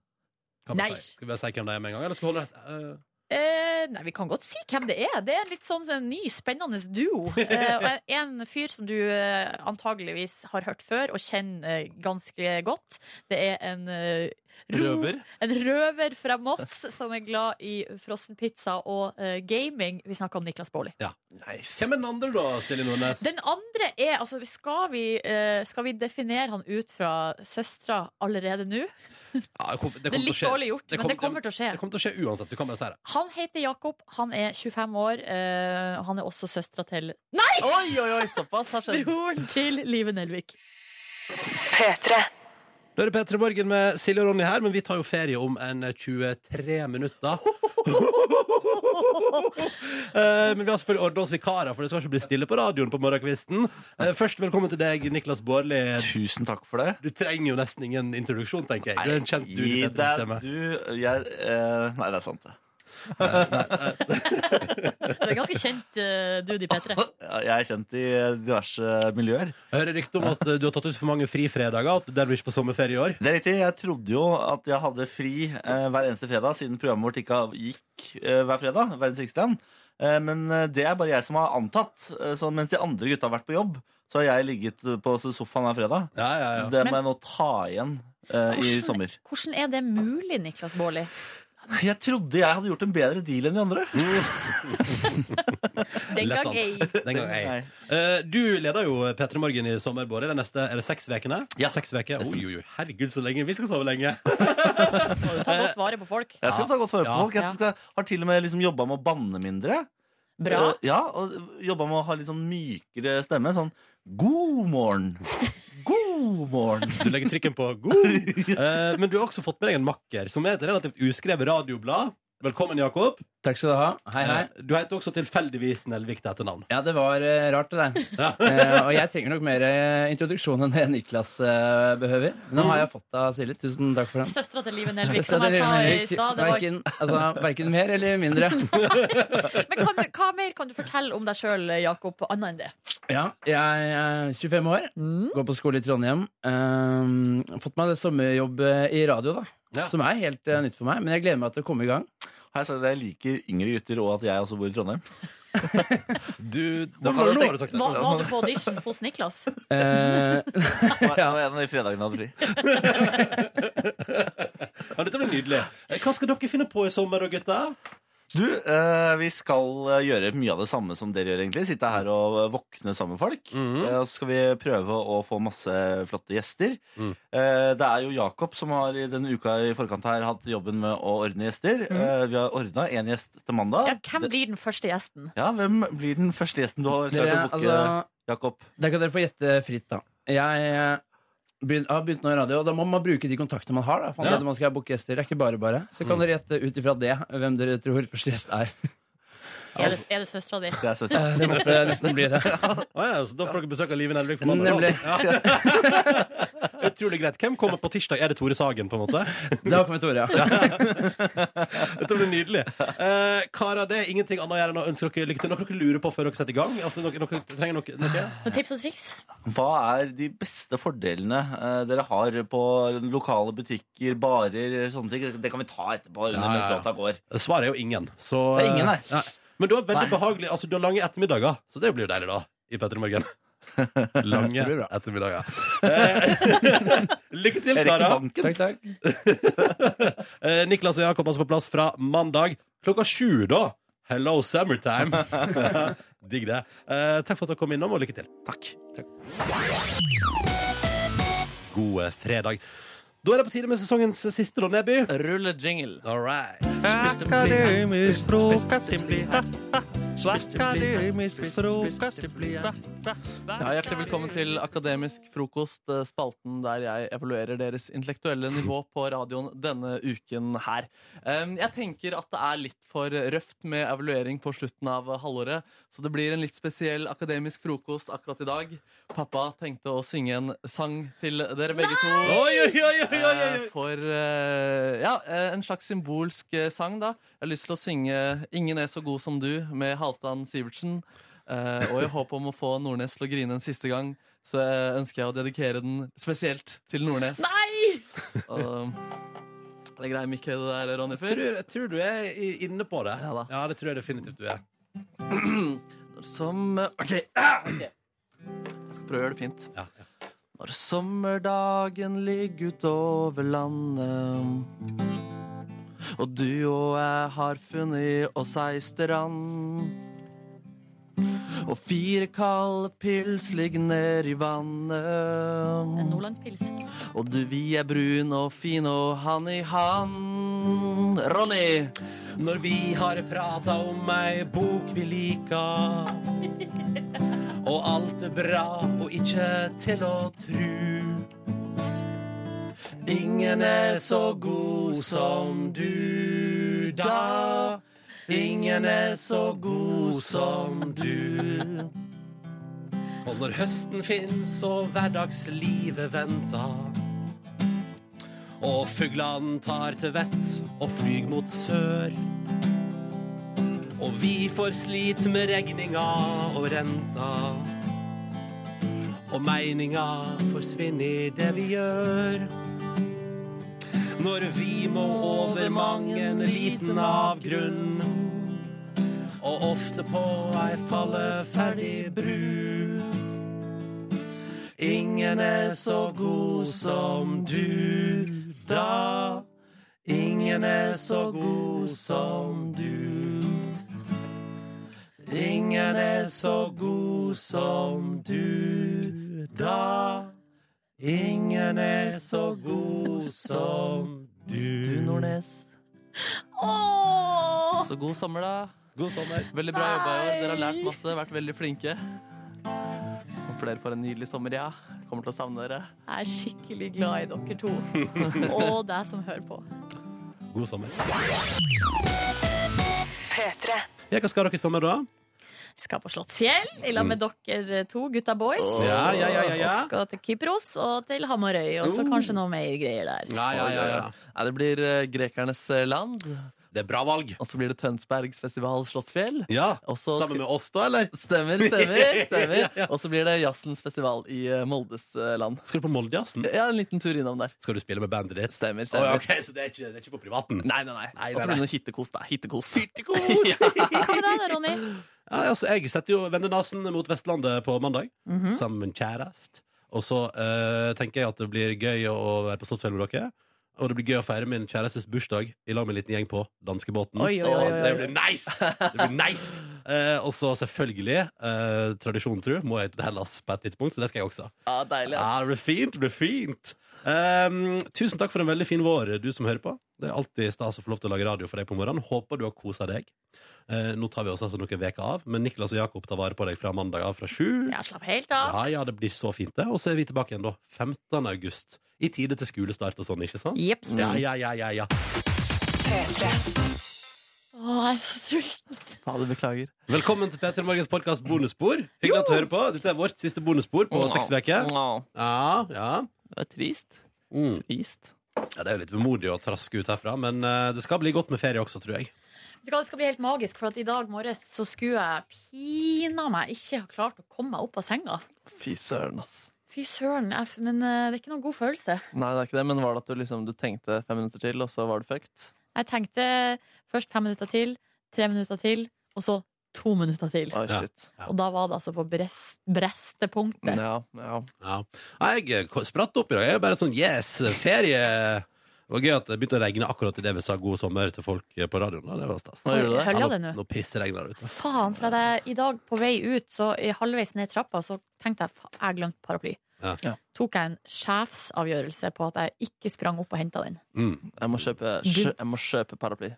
A: Kan vi
B: Nice.
A: si. Skal vi bare si hvem de er med en gang? Eller skal vi holde eh,
B: Eh, nei, vi kan godt si hvem det er. Det er en litt sånn en ny, spennende duo. Eh, og en- en fyr som du eh, antageligvis har hørt før og kjenner eh, ganske godt. Det er en eh, ro-
C: Røver.
B: En røver fra Moss som er glad i frossenpizza og eh, gaming. Vi snakker om Niklas Baarli.
C: Nice.
A: Hvem er den andre, da, Silje Nordnes?
B: Den andre er altså, skal, vi, eh, skal vi definere han ut fra søstera allerede nå?
A: Ja, det, kom, det,
B: Det
A: kommer til
B: er
A: å
B: litt
A: skje.
B: dårlig gjort,
A: Det
B: men det
A: kom-
B: kommer til å skje.
A: Det kommer til å skje uansett. Så kan bare si det.
B: Han heter Jakob, han er 25 år. eh, han er også søstera til
C: Oi, oi, oi, såpass har skjedd.
B: broren til Live Nelvik.
A: Nå er det P3 Morgen med Silje og Ronny her, men vi tar jo ferie om en 23 minutter. Eh, men vi har selvfølgelig ordna oss vikarer, for det skal ikke bli stille på radioen på morgenkvisten. Eh, Først velkommen til deg, Niklas Baarli.
H: Tusen takk for det.
A: Du trenger jo nesten ingen introduksjon, tenker jeg. Du er en kjent dude i
H: Gi
A: dette
H: deg,
A: systemet.
H: du jeg, eh, Nei, det er sant, det.
B: Det er ganske kjent eh, dude i P3.
H: Ja, Jeg er kjent i diverse miljøer.
A: Jeg hører rykte om at eh, du har tatt ut for mange frifredager, at du dermed ikke får sommerferie i år.
H: Det er riktig. Jeg trodde jo at jeg hadde fri eh, hver eneste fredag, siden programmet vårt ikke gikk eh, hver fredag. Verdens rikeste land. Eh, men eh, det er bare jeg som har antatt. Eh, så mens de andre gutta har vært på jobb, så har jeg ligget på sofaen hver fredag.
A: Ja, ja, ja.
H: Det
B: Men-
H: må jeg nå ta igjen eh, i
B: Hvordan-
H: sommer.
B: Hvordan er det mulig, Niklas Baarli?
H: Jeg trodde jeg hadde gjort en bedre deal enn de andre.
B: Den
A: Lett
B: gang
A: an.
B: ei.
A: Den gang jeg.
H: Nei.
A: Eh, du leder jo P3 Morgen i sommer, Bård. De neste er det seks ukene?
H: Ja.
A: Seks veker. Oi, oi, oi. Herregud, så lenge. Vi skal sove lenge.
B: Må jo ta godt vare på folk.
H: Jeg skal ta godt vare på
A: Ja.
H: folk. Jeg skal, har til og med liksom jobba med å banne mindre.
B: Bra.
H: Eh, Ja, og jobba med å ha litt sånn mykere stemme. Sånn god morgen. God morgen.
A: Du legger trykken på god. Eh, men du har også fått med deg en makker, som er et relativt uskrevet radioblad. Velkommen, Jakob.
I: Takk skal du ha. Hei, hei.
A: Eh, Du heter også tilfeldigvis Nelvik til etternavn.
I: Ja, det var eh, rart, det der. Eh, og jeg trenger nok mer eh, introduksjon enn det Niklas eh, behøver. Men nå har jeg fått av Silje. Tusen takk for den.
B: Søstera til Live Nelvik,
I: Søster
B: som jeg
I: til
B: sa i
I: Henrik,
B: stad. det var-
I: Verken, altså, verken mer eller mindre.
B: Men kan du, hva mer kan du fortelle om deg sjøl, Jakob, annet enn det?
I: Ja, jeg er 25 år,
B: Mm.
I: går på skole i Trondheim. Um, fått meg det sommerjobb eh, i radio, da.
A: Ja.
I: Som er helt eh, nytt for meg. Men jeg gleder meg til å komme i gang.
H: Har jeg sagt at jeg liker yngre gutter, og at jeg også bor i Trondheim?
A: Du,
H: Hva
A: nå har
H: har du
A: du
H: tenkt?
A: sagt det.
B: Var, var du på audition hos Niklas?
I: Eh,
H: Det var det var en av de fredagene jeg hadde fri.
A: Ja, dette blir nydelig. Eh, Hva skal dere finne på i sommer, da, gutta?
H: Du, eh, vi skal eh, gjøre mye av det samme som dere gjør, egentlig. Sitte her og eh, våkne sammen med folk.
A: Mhm.
H: Eh, og så skal vi prøve å få masse flotte gjester.
A: Mhm.
H: Eh, det er jo Jakob som har i denne uka i forkant her hatt jobben med å ordne gjester. Eh, vi har ordna én gjest til mandag.
B: Mhm. Ja, hvem blir den første gjesten?
H: ja, hvem blir den første gjesten du har klart
I: Dere,
H: å booke,
I: altså,
H: Jakob?
I: da kan dere få gjette fritt, da. Jeg eh, begyn- har begynt nå i radio, og da må man bruke de kontaktene man har. da for
A: Ja.
I: at man skal booke gjester, det er ikke bare bare Så kan dere gjette ut ifra det hvem dere tror første gjest er.
B: Er det, er det søstera di?
H: Det er søsteren.
I: Eh, Det måtte nesten bli det.
A: Å ja, så da får dere besøk av Live Nelvik på mandag.
I: Nemlig.
A: Ja. Utrolig greit. Hvem kommer på tirsdag? Er det Tore Sagen, på en måte?
I: Da kommer Tore, ja.
A: Dette blir nydelig. Eh, karer, det er ingenting annet å gjøre enn å ønske dere lykke til. Noe dere lurer på før dere setter i gang? Altså, dere, dere trenger noe, noe?
B: Noen tips og triks?
H: Hva er de beste fordelene eh, dere har på lokale butikker, barer, sånne ting? Det kan vi ta etterpå. under
A: Ja, ja,
H: mens
A: ja.
H: låta går.
A: Svaret er jo ingen. Så,
H: Det er ingen
A: eh,
H: her.
A: Men du har veldig
H: Nei.
A: behagelig Altså, du har lange ettermiddager, så det blir jo deilig, da. I Petter i morgen. Lange
I: Det blir bra.
A: ettermiddager. Eh, lykke til,
H: Erik
A: karer.
H: Tanken.
I: Takk, takk.
A: Eh, Niklas og Jakob altså på plass fra mandag klokka sju, da. Hello, summertime. Digg det. Eh, takk for at dere kom innom, og lykke til. Takk. God eh, fredag. Da er det på tide med sesongens siste, da, Neby.
C: Rulle jingle.
A: All right.
C: Ja, hjertelig velkommen til Akademisk frokost, eh, spalten der jeg evaluerer deres intellektuelle nivå på radioen denne uken her. Em, Jeg tenker at det er litt for røft med evaluering på slutten av halvåret, så det blir en litt spesiell akademisk frokost akkurat i dag. Pappa tenkte å synge en sang til dere begge to.
A: Oi, oi, oi, oi, oi, oi.
C: Eh, For eh, ja, eh, en slags symbolsk eh, sang, da. Jeg har lyst til å synge 'Ingen er så god som du' med Halvdan Sivertsen. Eh, og i håp om å få Nordnes til å grine en siste gang, så eh, ønsker jeg å dedikere den spesielt til Nordnes.
B: Nei!
C: Og, er det grei mikke, det der, Ronny
A: Jeg
C: Fyr?
A: Eh, tror, jeg tror du er i- inne på det.
C: Ja da.
A: Ja, det tror jeg definitivt du er.
C: Som OK. Ah, ok. Jeg skal prøve å gjøre det fint.
A: Ja,
C: Når sommerdagen ligger utover landet Og du og jeg har funnet oss ei strand Og fire kalde pils ligger ned i
B: En
C: vannet
B: nordlandspils.
C: Og du, vi er brun og fin og han i han Ronny!
A: Når vi har prata om ei bok vi liker, og alt er bra og ikke til å tru. Ingen er så god som du da. Ingen er så god som du. Og når høsten fins og hverdagslivet venter, og fuglene tar til vett og flyr mot sør. Og vi får slite med regninga og renta. Og meininga forsvinner i det vi gjør. Når vi må over mang en liten avgrunn. Og ofte på ei falleferdig bru. Ingen er så god som du da. Ingen er så god som du. Ingen er så god som du da. Ingen er så god som du.
C: Du, Nordnes.
B: Åh!
C: Så god sommer, da.
A: God sommer.
C: Veldig bra jobba i år. Dere har lært
B: Nei.
C: masse, vært veldig flinke. Håper dere får en nydelig sommer, ja. Kommer til å savne dere.
B: Jeg er skikkelig glad i dere to. Og deg som hører på.
A: God sommer. Ja, hva skal dere i sommer, da?
B: Skal på Slottsfjell i lag
A: Mm.
B: med dere eh, to, gutta boys.
A: Ja, ja, ja, ja, ja.
B: Og skal til Kypros og til Hamarøy, og så kanskje noe mer greier der.
A: Ja, ja, ja,
C: Nei, det blir eh, Grekernes eh, land,
A: Det er bra valg.
C: og så blir det Tønsbergs festival Slottsfjell.
A: Ja,
C: Og så
A: Sammen med oss, da, eller?
C: Stemmer, stemmer.
A: Ja, ja.
C: stemmer. Og så blir det jazzens festival i eh, Moldes eh, land.
A: Skal du på Moldejazzen?
C: Ja, en liten tur innom der.
A: Skal du spille med bandet ditt? Å, ja,
C: Stemmer, stemmer.
A: ok, Så det er ikke, det er ikke på privaten?
C: Nei, nei, nei.
A: Nei,
C: Og
A: nei,
C: så blir
A: nei.
C: det noe hittekos, da. Hittekos.
A: ja,
B: Hva med deg da, Ronny?
A: altså, jeg setter jo vendenasen mot Vestlandet på mandag,
B: Mhm.
A: sammen med en kjæreste. Og så eh, tenker jeg at det blir gøy å være på Slottsfjell med dere. og det blir gøy å feire min kjærestes bursdag i lag med en liten gjeng på danskebåten.
B: Oi, oi, oi,
A: Og Det blir nice! Det blir nice. Eh, og så selvfølgelig, eh, tradisjonen tro, må jeg til Hellas på et tidspunkt, så det skal jeg også.
C: Ja, deilig.
A: Ja, det blir fint, det blir fint. Ehm, tusen takk for en veldig fin vår, du som hører på. Det er alltid stas å få lov til å lage radio for deg på morgenen. Håper du har kosa deg. Eh, nå tar vi oss altså noen uker av, men Niklas og Jakob tar vare på deg fra mandag av fra sju.
B: Ja, slapp helt av.
A: Ja, ja, det blir så fint, det. Og så er vi tilbake igjen da 15. august. I tide til skolestart og sånn, ikke sant?
B: Jeps.
A: Ja, ja, ja, ja, ja.
B: Å, jeg er så sulten.
C: Fader, beklager.
A: Velkommen til P3 Morgens podkast bonusspor. Hyggelig at du hører på. Dette er vårt siste bonusspor på seks uker.
C: Åh,
A: Ja, ja.
C: Det er trist.
A: Mm.
C: Trist.
A: ja. Det er jo litt vemodig å traske ut herfra, men eh, det skal bli godt med ferie også, tror jeg.
B: Vet du hva, Det skal bli helt magisk, for at i dag morges så skulle jeg pina meg ikke ha klart å komme meg opp av senga.
C: Fy søren, ass.
B: Fy søren, jeg, f- men eh, det er ikke noen god følelse.
C: Nei, det er ikke det, men var det at du liksom du tenkte fem minutter til, og så var du fucked?
B: Jeg tenkte først fem minutter til, tre minutter til, og så to minutter til.
C: Oi,
A: Ja.
C: shit.
B: Og da var det altså på brest, brestepunktet.
C: Ja, ja.
A: Ja. Nei, Jeg eh, spratt opp i dag. Jeg er bare sånn yes, ferie! Det var gøy at det begynte å regne akkurat idet vi sa god sommer til folk eh, på radioen. da. Det var stas.
C: Nå gjør du det.
B: Hølja det
A: nå,
B: nå.
A: nå pissregner det ute.
B: Faen, for at jeg i dag på vei ut, så i halvveis ned trappa, så tenkte jeg faen, jeg glemte paraply.
A: Ja.
C: Ja.
B: Tok jeg en sjefsavgjørelse på at jeg ikke sprang opp og henta den.
A: Mm.
C: Jeg må kjøpe,
B: Gud.
C: jeg må kjøpe paraply.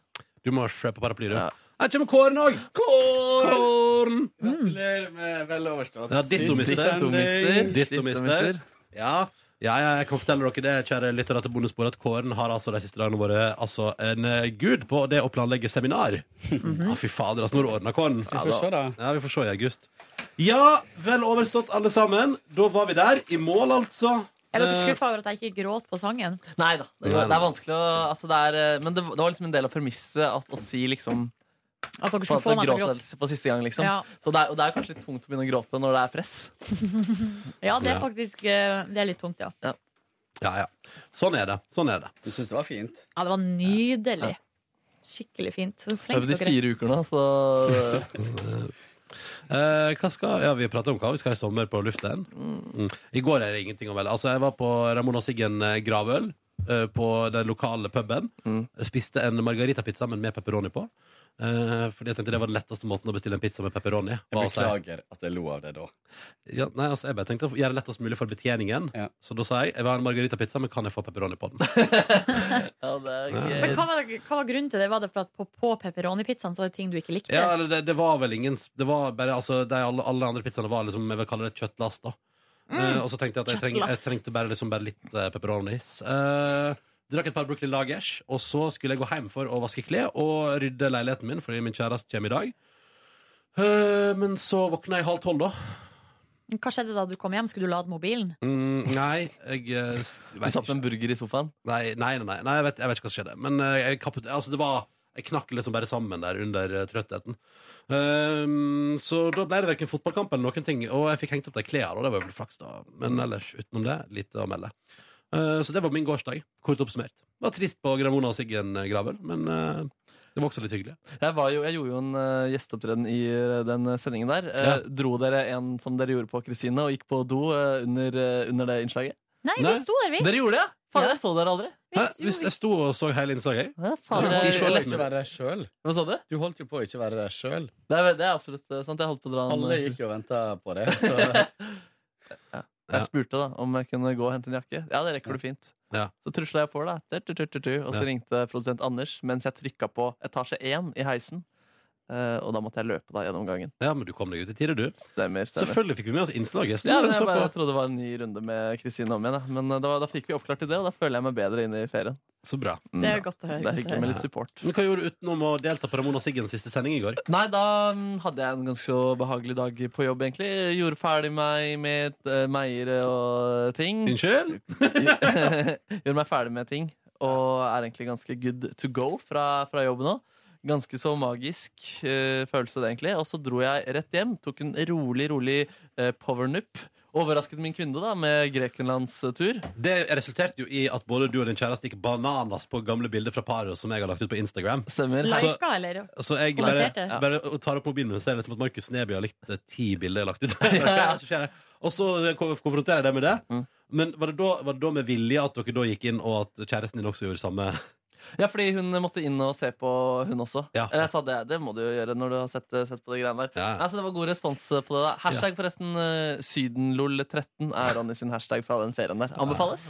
A: Du må kjøpe paraply, du.
C: Ja.
A: Her kommer Kåren òg! Kåren!
G: Gratulerer med vel overstått.
A: Ja, ditto, mister.
C: Dittomister.
A: Ditto, mister. Ja. Ja, ja, jeg kan fortelle dere det, kjære lyttere til Bondespor, at Kåren har altså de siste dagene vært altså, en eh, gud på det å planlegge seminar. ja, fy fader, altså, når ordna Kåren? Ja, da- Ja, vi får se i august. Ja, vel overstått, alle sammen. Da var vi der. I mål, altså.
B: Er dere
A: Eh,
B: skuffa over at jeg ikke gråt på sangen?
C: Nei da. Det,
A: Nei, nei.
C: det er vanskelig å altså det er, eh, Men det, det var liksom en del av premisset at- å si liksom
B: At dere
C: på,
B: skulle
C: at
B: få
C: jeg
B: meg til å gråte?
C: gråt på siste gang, liksom.
B: Ja.
C: Så det er, og det er kanskje litt tungt å begynne å gråte når det er press.
B: Ja, det er
A: Ja.
B: faktisk eh, Det er litt tungt, ja.
A: ja, ja. Sånn er det. Sånn er det.
G: Du syns det var fint?
B: Ja, det var nydelig. Skikkelig fint. Så
C: Jeg har
B: flink
C: øvd i
B: dere er.
C: fire uker nå, så
A: Eh, hva skal, ja, vi prater om hva vi skal ha i sommer på luften. Mm. I går er det ingenting å velge. Altså, jeg var på Ramona Siggen eh, gravøl eh, på den lokale puben.
C: Mm.
A: Jeg Spiste en margaritapizza, men med pepperoni på. Eh, fordi jeg tenkte det var den letteste måten å bestille en pizza med pepperoni. var å si-
G: at jeg lo av det da.
A: Ja, nei, altså, jeg bare tenkte å gjøre det lettest mulig for betjeningen.
G: Ja.
A: Så da sa jeg jeg vil ha en margaritapizza, men kan jeg få pepperoni på den?
C: ja, det er
B: Men
C: gøy.
B: hva var, hva var grunnen til det? Var det for at på, på pepperoni-pizzaen så var det ting du ikke likte?
A: ja, eller det, det var vel ingen Det var bare altså, de, alle, alle andre pizzaene var liksom Jeg vil kalle det et kjøttlass, da.
C: Mm.
A: Eh, og så tenkte jeg at jeg, treng, jeg
B: Kjøttlass.
A: trengte bare, liksom, bare litt uh, pepperonis. Eh, drakk et par Brooklyn Lagers, og så skulle jeg gå hjem for å vaske klær og rydde leiligheten min, fordi min kjæreste kommer i dag. Eh, men så våkna jeg halv tolv, da.
B: Hva skjedde da du kom hjem? Skulle du lade mobilen?
A: Mm, nei, jeg eh, s-
C: Du
A: vet
C: satt med en burger i sofaen.
A: Nei, nei, nei, nei, nei jeg, vet, jeg vet ikke hva som skjedde. Men eh, jeg, kaput, altså, det var, jeg knakk liksom bare sammen der under eh, trøttheten. Ehm, så da ble det verken fotballkamp eller noen ting. Og jeg fikk hengt opp de klærne, og det var vel flaks, da. Men ellers, utenom det, lite å melde. Eh, så det var min gårsdag, kort oppsummert. Det var trist på Gramona og Siggen-graven, men eh, det var også litt hyggelig.
C: Jeg, var jo, jeg gjorde jo en eh, gjesteopptreden i eh, den sendingen der. Eh,
A: Ja.
C: Dro dere en som dere gjorde på Kristine, og gikk på do eh, under, eh, under det innslaget?
B: Nei,
A: Nei.
B: vi sto der, vi.
C: Dere gjorde det? Fader,
B: Ja.
C: jeg så dere aldri.
B: vi,
A: Hæ?
B: sto,
A: Hvis jeg sto og så hele innslaget, jeg.
C: Ja, fader,
A: Ja, i
C: jeg,
A: shorts.
C: eller-
A: ikke
G: deg sjøl.
C: hva sa du?
G: Du holdt jo på å ikke være deg sjøl.
C: Det er, det er absolutt eh, sant. Jeg holdt på å dra en
G: Alle gikk jo og venta på det. Så.
A: Ja.
C: Jeg spurte da om jeg kunne gå og hente en jakke. Ja, det rekker du fint.
A: Ja.
C: Så trusla jeg på, da. Tu, tu, tu, tu, tu. Og så
A: Ja.
C: ringte produsent Anders mens jeg trykka på etasje én i heisen. Eh, og da måtte jeg løpe da gjennom gangen.
A: Ja, men du kom deg ut i tide, du.
C: Stemmer. stemmer.
A: Selvfølgelig fikk vi med oss innslaget. Jeg sto
C: Ja,
A: der
C: men
A: og
C: jeg
A: så
C: bare
A: på.
C: trodde det var en ny runde med Kristine om igjen. Da. Men eh, da, da fikk vi oppklart i det, og da føler jeg meg bedre inn i ferien. Mm.
A: Så bra.
B: Det er godt å
C: Det er
B: høre. godt å høre.
C: hyggelig med litt support.
A: Men hva gjorde du utenom å delta på Ramona og Siggens siste sending i går?
C: Nei, da mm, hadde jeg en ganske så behagelig dag på jobb, egentlig. Gjorde ferdig meg med uh, meiere og ting.
A: Unnskyld?
C: Gjorde meg ferdig med ting Og er egentlig ganske good to go fra, fra jobb nå Ganske så magisk eh, følelse det egentlig Og så dro jeg rett hjem Tok en rolig, rolig uh, powernip Overrasket min kvinne da Med Grekenlands eh, tur
A: Det resulterte jo i at både du og din kjæreste gikk bananas på gamle bilder fra paret som jeg har lagt ut på Instagram.
C: Stemmer
A: Nei.
B: Lika, eller?
A: Så jeg bare,
B: Lanserte.
A: bare tar opp mobilen og ser liksom at Markus Neby har likt eh, ti bilder jeg har lagt ut. Hva er det som skjer her? og så kom- konfronterer jeg deg med det. Men var det, da, var det da med vilje at dere da gikk inn, og at kjæresten din også gjorde samme?
C: Ja, fordi hun måtte inn og se på, hun også. Eh,
A: Ja.
C: Jeg sa det, det må du jo gjøre når du har sett, sett på de greiene der.
A: Ja.
C: Nei, så det var god respons eh, på det. da Hashtag forresten eh, Sydenlol13 er Ronny sin hashtag fra den ferien der. Anbefales.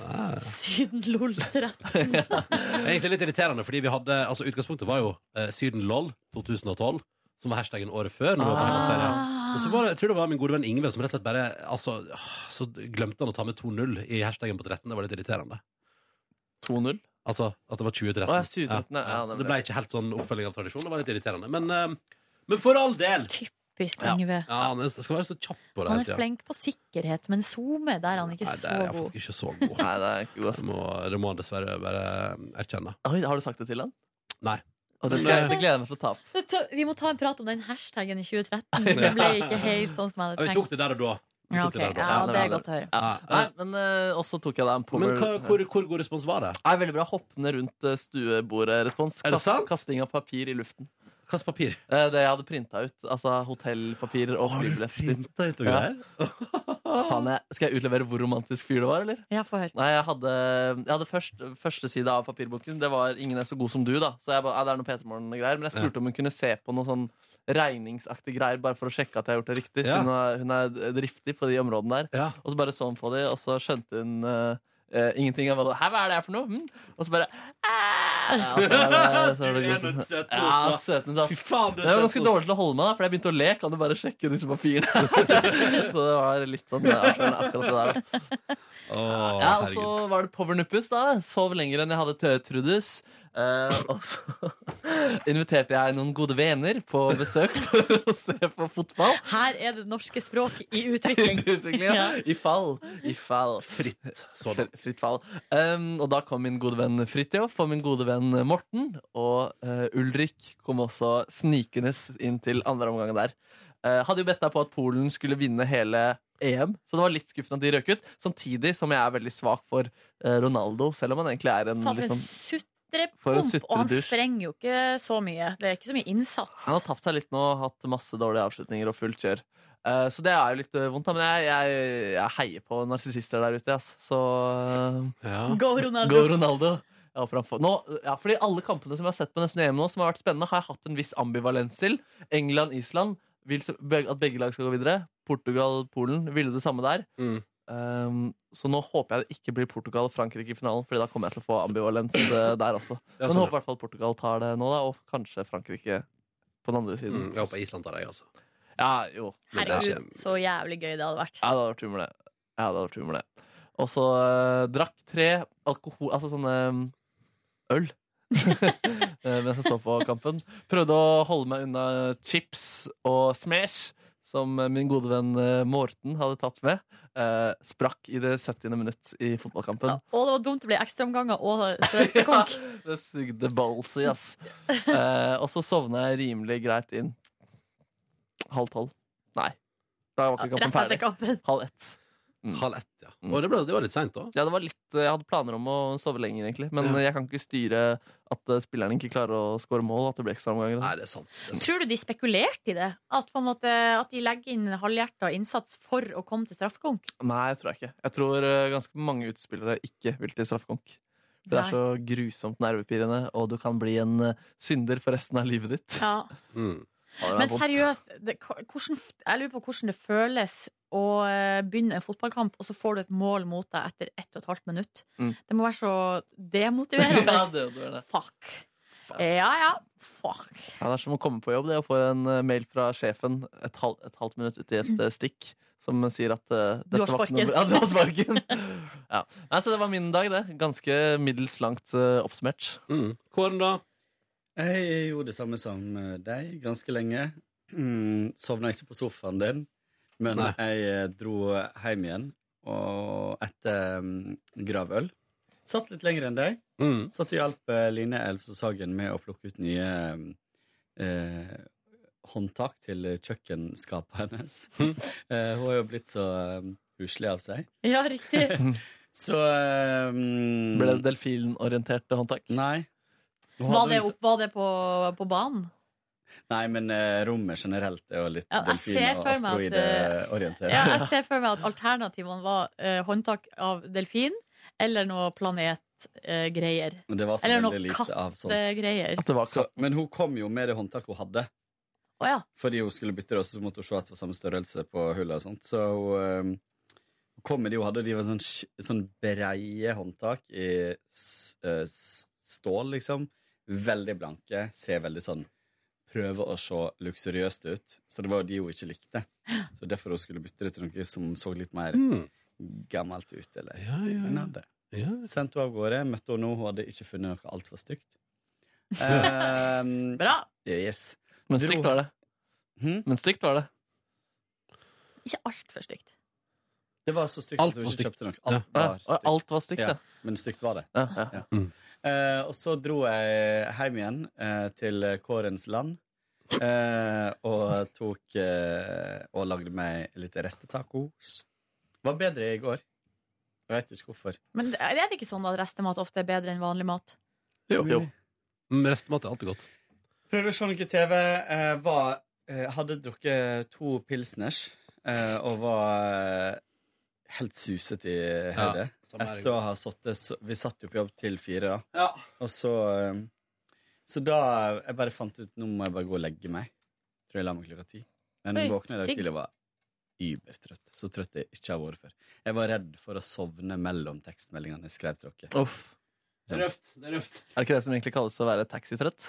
B: Syden-lol-trett.
A: Det er egentlig litt irriterende, fordi vi hadde Altså, utgangspunktet var jo eh, Sydenlol 2012, som var hashtagen året før. Når vi var på Hellasferie.
B: Ah.
A: Og så var det, jeg tror det var min gode venn Ingve som rett og slett bare Altså, så glemte han å ta med 2-0 i hashtagen på 13. Det var litt irriterende.
C: 2-0.
A: Altså at det var 2013.
C: Å, ja, 2013, ja, ja,
A: så
C: nemlig.
A: det ble ikke helt sånn oppfølging av tradisjon. Det var litt irriterende. Men, eh, men for all del!
B: Typisk
A: Ja.
B: Yngve.
A: Ja, han er- skal være så kjapp på det
B: Han
A: hele
B: er
A: tida.
B: flink på sikkerhet, men SoMe, der er han ikke
A: Nei, det
B: så
A: er jeg
B: god.
A: faktisk ikke så god.
C: Nei, det er ikke god,
A: Det
C: ass.
A: må, det må han dessverre bare erkjenne.
C: Oi, har du sagt det til han?
A: Nei.
C: Og det, skal, jeg- det gleder jeg meg til å ta opp.
B: Vi tar- Vi må ta en prat om den hashtagen i 2013. Det ble ikke helt sånn som
A: Ja,
B: jeg
A: vi
B: hadde tenkt.
A: tok det der og da. Vi
B: Ja,
A: tok
B: ok.
A: det der og da.
B: ja, det er godt å høre.
C: Ja. Nei,
A: Ja.
C: men eh, også tok jeg deg en power.
A: Men hva, hvor, hvor god respons var det?
C: Nei, veldig bra hoppende rundt eh, stuebordet-respons.
A: Er det
C: Kast-
A: sant?
C: Kasting av papir i luften.
A: Hva slags papir?
C: Eh, Det jeg hadde printa ut. Altså hotellpapir og flybilletter.
A: ut og
C: greier? Faen, jeg- Skal jeg utlevere hvor romantisk fyr det var, eller?
B: Ja, få høre.
C: Nei, jeg hadde, jeg hadde først, første side av papirboken. Det var 'Ingen er så god som du', da. Så jeg ba, ja, det er noe Petermorgen-greier. Men jeg spurte om hun kunne se på noe sånn regningsaktig greier, bare for å sjekke at jeg har gjort det riktig.
A: Ja.
C: Siden hun er- hun er driftig på de områdene der.
A: Ja.
C: Og så bare så hun på de, og så skjønte hun eh, eh, ingenting. av hva det- Hæ, hva er det her for noe? Hm? Og så bare «Ah!» ja, så var det, så var det
A: Du er
C: god
A: den
C: sånn-
A: søte
C: Ja,
A: osten,
C: søten ut, ass.
A: faen, du
C: Det var ganske dårlig til å holde meg, da, for jeg begynte å le. Kan du bare sjekke disse papirene? så det var litt sånn eh, avslørende akkurat det der. da. Ja, og så var det powernuppes da Sov lenger enn jeg hadde til Trudes Eh, Og så inviterte jeg noen gode venner på besøk For å se på fotball
B: Her er det norske språk i utvikling.
C: Utviklingen, ja.
B: Ja.
C: I fall, i fall
A: Fritt sådan.
C: Fri- Fritt fall Em, Og da kom min gode venn Fritjof Og min gode venn Morten Og eh, Ulrik kom også snikenes inn til andre omgang der Eh, Hadde jo bedt deg på at Polen skulle vinne hele EM Så det var litt skuffende at de røk ut Samtidig som jeg er veldig svak for eh, Ronaldo Selv om han egentlig er en
B: Faen, for
C: liksom,
B: en
C: For en
B: sutrepomp! Og han
C: sutredusj.
B: sprenger jo ikke så mye. Det er ikke så mye innsats.
C: Han har tapt seg litt nå, hatt masse dårlige avslutninger og fullt kjør. Eh, så det er jo litt eh, vondt, da. Men jeg, jeg, jeg heier på narsissister der ute, ass. Så eh,
A: Ja.
B: Go,
C: go
B: Ronaldo!
C: Ronaldo! Jeg håper han får nå, ja, fordi alle kampene som jeg har sett på nesten EM nå, som har vært spennende, har jeg hatt en viss ambivalens til. England-Island vil så- be- at begge lag skal gå videre. Portugal-Polen ville det samme der.
A: Mm.
C: Eh, så nå håper jeg det ikke blir Portugal og Frankrike i finalen, Fordi da kommer jeg til å få ambivalens eh, der også.
A: Ja,
C: Men
A: sånn,
C: håper i hvert fall Portugal tar det nå, da, og kanskje Frankrike på den andre
A: ja.
C: siden.
A: Mm, jeg håper Island tar deg, altså.
C: Ja, jo.
A: Men det er
B: Herregud,
A: ikke-
B: så jævlig gøy det hadde vært.
C: Ja, det hadde vært humor, det. Ja, det hadde vært humor, det. Og så eh, drakk tre alkohol... Altså sånne mm, øl. Eh, Mens jeg så på kampen. Prøvde å holde meg unna chips og Smash, som eh, min gode venn eh, Morten hadde tatt med. Eh, sprakk i det 70. minutt i fotballkampen.
B: Ja, Og det var dumt å bli ekstraomganger og strømpekonk.
C: Det sugde balls i, ass. Eh, og så sovna jeg rimelig greit inn. Halv tolv. Nei. Da var ikke
B: Rett
C: kampen
B: etter
C: ferdig.
B: kampen.
C: Halv ett.
A: Halv ett, ja.
C: Mm.
A: Og det, ble, det var litt seint, da.
C: Ja, det var litt, eh, jeg hadde planer om å sove lenger, egentlig. Men
A: Ja.
C: jeg kan ikke styre at eh, spilleren ikke klarer å score mål. At det blir altså. ekstraomganger.
A: Nei, det er sant. Det er sant.
B: Tror du de spekulerte i det? At, på en måte, at de legger inn halvhjerta innsats for å komme til straffekonk?
C: Nei, jeg tror jeg ikke. Jeg tror eh, ganske mange utspillere ikke vil til straffekonk. Det
B: Nei.
C: er så grusomt nervepirrende, og du kan bli en eh, synder for resten av livet ditt.
B: Ja.
A: Mm.
C: Ja, det er
B: Men
C: vondt.
B: seriøst, det, hvordan, jeg lurer på hvordan det føles å eh, begynne en fotballkamp, og så får du et mål mot deg etter ett og et halvt minutt.
C: Mm.
B: Det må være så demotiverende.
C: ja, det, det, er det.
B: Fuck. Ja, ja. Fuck.
C: Ja, det er som å komme på jobb, det å få en eh, mail fra sjefen et, halv, et halvt minutt uti et eh, stikk. Som sier at eh,
B: Du har
C: dette var ikke noe
B: sparken.
C: bra. Ja, du har sparken. ja. Nei, så det var min dag, det. Ganske middels langt eh, oppsummert.
A: Mm. Kåren, da?
I: Jeg gjorde det samme som eh, deg ganske lenge. Mm, Sovna ikke på sofaen din, men
A: Nei.
I: jeg eh, dro hjem igjen og etter mm, gravøl. Satt litt lenger enn deg.
A: Mm.
I: Satt og hjalp eh, Line Elvsås Sagen med å plukke ut nye mm, eh, håndtak til kjøkkenskapet hennes. eh, hun er jo blitt så eh, huslig av seg.
B: Ja, riktig.
I: Så eh, mm,
C: Ble det delfinorienterte håndtak?
I: Nei. Hun
B: Var
I: hadde
B: det,
I: liksom-
B: opp, var det på, på banen?
I: Nei, men eh, rommet generelt er jo litt
B: Ja, jeg ser
I: delfin- og
B: for meg at, eh,
I: asteroideorientert.
B: Ja, jeg ser for meg at alternativene var eh, håndtak av delfin eller noe eh, planetgreier.
I: Men det var så
B: eller
I: veldig
B: noe eh,
I: lite av sånt.
B: kattegreier.
C: At det var
I: Så, men hun kom jo med det håndtaket hun hadde,
B: Å ja.
I: fordi hun skulle bytte det, og så måtte hun se at det var samme størrelse på hullet og sånt. Så hun eh, hun kom med de hun hadde, de var sånn, sk- sånn breie håndtak i s- eh, s- stål, liksom. Veldig blanke, ser veldig sånn Prøve å se luksuriøst ut. Så det var jo de hun ikke likte. Så derfor hun skulle bytte det til noe som så litt mer
A: Mm.
I: gammelt ut, eller
A: Ja, ja,
I: Hun
A: ja.
I: hadde.
A: ja.
I: Sendte hun av gårde, møtte hun nå, hun hadde ikke funnet noe altfor stygt. Um,
B: Bra!
I: yes.
C: Men stygt var det.
I: Hm?
C: Men stygt var det.
B: Ikke altfor stygt.
I: Det var så stygt
A: Alt
I: at hun
A: var
I: ikke
A: stygt.
I: kjøpte noe.
A: Ja.
I: Alt
C: Ja,
I: var stygt.
C: alt var stygt,
I: Ja.
C: ja.
I: Men stygt var det.
C: ja, ja.
I: Eh, og så dro jeg hjem igjen eh, til Kårens land. eh, og tok eh, Og lagde meg litt restetacos. Var bedre i går. Jeg veit ikke hvorfor.
B: Men er det ikke sånn at restemat ofte er bedre enn vanlig mat?
A: Jo. jo. Mm, Restemat er alltid godt.
I: Prøvde å se noe TV. Eh, var, eh, hadde drukket to pilsners eh, og var eh, helt suset i hodet.
A: sånn
I: Etter å ha sittet så- Vi satt jo på jobb til fire, da. Og så eh, Så da eh, Jeg bare fant ut nå må jeg bare gå og legge meg. Tror jeg la meg klokka ti. Men
B: Oi,
I: våkna i dag
B: digg.
I: tidlig og var übertrøtt. Så trøtt jeg ikke har vært før. Jeg var redd for å sovne mellom tekstmeldingene jeg skrev til dere.
C: Uff.
I: Det er
A: røft. Det er røft.
C: Er det ikke det som egentlig kalles å være taxitrøtt?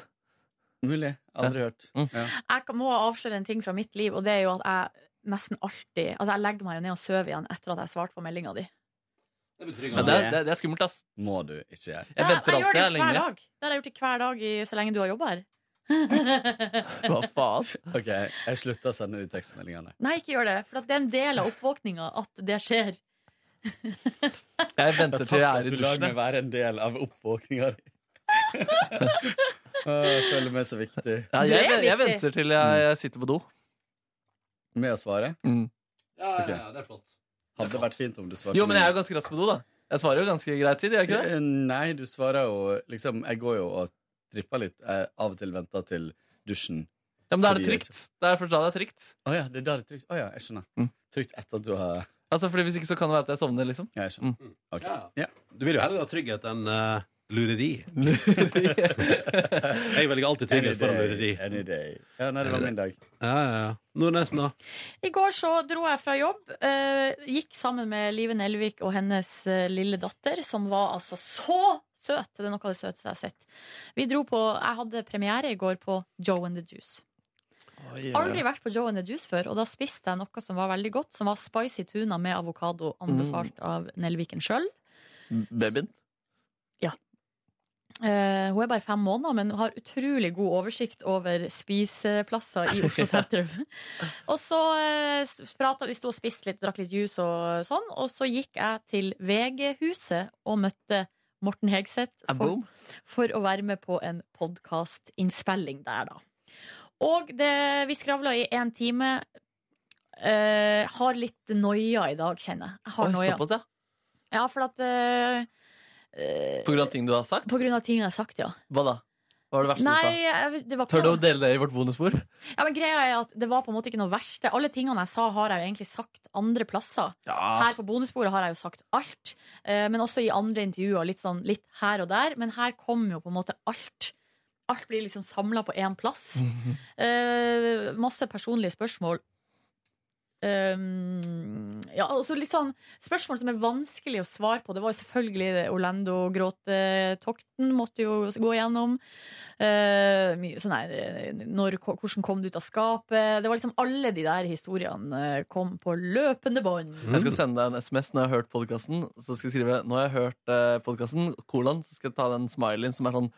I: Mulig. Aldri hørt.
C: Mm.
I: Ja.
B: Jeg kan- må avsløre en ting fra mitt liv, og det er jo at jeg nesten alltid Altså, jeg legger meg jo ned og sover igjen etter at jeg har svart på meldinga di.
C: Ja, det, er- det, er- det er skummelt, ass.
I: Må du ikke gjøre.
C: Jeg
B: Nei,
C: venter
B: gjør
C: alltid
B: det
C: jeg er
B: jo hver
C: lenge.
B: dag. Det har jeg gjort det hver dag i, så lenge du har jobba her.
C: Hva faen?
I: Ok, jeg slutter å sende de tekstmeldingene.
B: Nei, ikke gjør det, for at det er en del av oppvåkninga at det skjer.
C: Jeg venter til jeg er i
I: du lar
C: dusjen.
I: meg
C: jeg.
I: være en del av oppvåkninga di. Å, Jeg føler meg så viktig.
C: Ja,
B: Du er
C: jeg, jeg
B: viktig.
C: venter til
I: Mm.
C: jeg, jeg sitter på do.
I: Med å svare.
C: Mm.
A: Ja,
I: ja, ja,
A: det er flott.
I: Hadde det vært fint om du svarte
C: Jo, men jeg er jo ganske rask på do, da. Jeg svarer jo ganske greit tid, gjør jeg ikke det?
I: Eh, Nei, du svarer jo liksom Jeg går jo og tripper litt. Jeg av og til venter til dusjen.
C: Ja, men da er det
I: Fordi jeg
C: trygt. Det er først da det er trygt.
I: Å ja, det er da det er trygt. Å ja, jeg skjønner.
C: Mm.
I: Trygt etter at du har
C: Altså, fordi Hvis ikke så kan det være at jeg sovner, liksom.
I: Ja, jeg skjønner. Ok. Mm. Ja.
A: Du vil jo heller ha trygghet enn eh, lureri. Jeg velger alltid trygghet foran lureri.
I: Any day. Ja, nei, det var min dag.
A: Ja, ja, ja. Nordnesen, da?
B: I går så dro jeg fra jobb. eh, gikk sammen med Live Nelvik og hennes eh, lille datter, som var altså så søt! Det er noe av det søteste jeg har sett. Vi dro på, Jeg hadde premiere i går på Joe and the Juice. Aldri vært på Joe and the Juice før, og da spiste jeg noe som var veldig godt, som var spicy tuna med avokado, anbefalt av Nelviken sjøl.
I: Mm,
C: Babyen.
B: Eh, hun er bare fem måneder, men har utrolig god oversikt over spiseplasser i Oslo sentrum. og så eh, s- pratet, vi sto og spiste litt, drakk litt juice og sånn, og så gikk jeg til VG-huset og møtte Morten Hegseth for,
C: Boom.
B: for å være med på en podkastinnspilling der, da. Og det, vi skravla i én time. Eh, har litt noia i dag, kjenner jeg. jeg.
C: Oi,
B: Har noia.
C: Såpass, ja.
B: Ja, for at eh, eh,
C: På grunn av ting du har sagt?
B: på grunn av ting jeg har sagt, ja.
C: Hva da? Hva var det verste du sa?
B: Nei, jeg, det var
C: Tør du
B: ikke
C: å dele det i vårt bonusbord?
B: Ja, men greia er at Det var på en måte ikke noe verste. Alle tingene jeg sa, har jeg jo egentlig sagt andre plasser.
C: Ja.
B: Her på bonusbordet har jeg jo sagt alt, eh, men også i andre intervjuer. Litt, sånn, litt her og der. Men her kom jo på en måte alt. Alt blir liksom samla på én plass. Eh, masse personlige spørsmål. Um, ja, altså litt sånn Spørsmål som er vanskelig å svare på. Det var jo selvfølgelig det Orlando-gråtetokten måtte jo gå gjennom. Eh, mye sånn her eh, når, Hvordan kom du ut av skapet? Det var liksom alle de der historiene eh, kom på løpende bånd.
C: Jeg skal sende deg en SMS når jeg har hørt podkasten. Så skal jeg skrive 'Nå har jeg hørt eh, podcasten, kolon, så skal jeg ta den smileyen som er sånn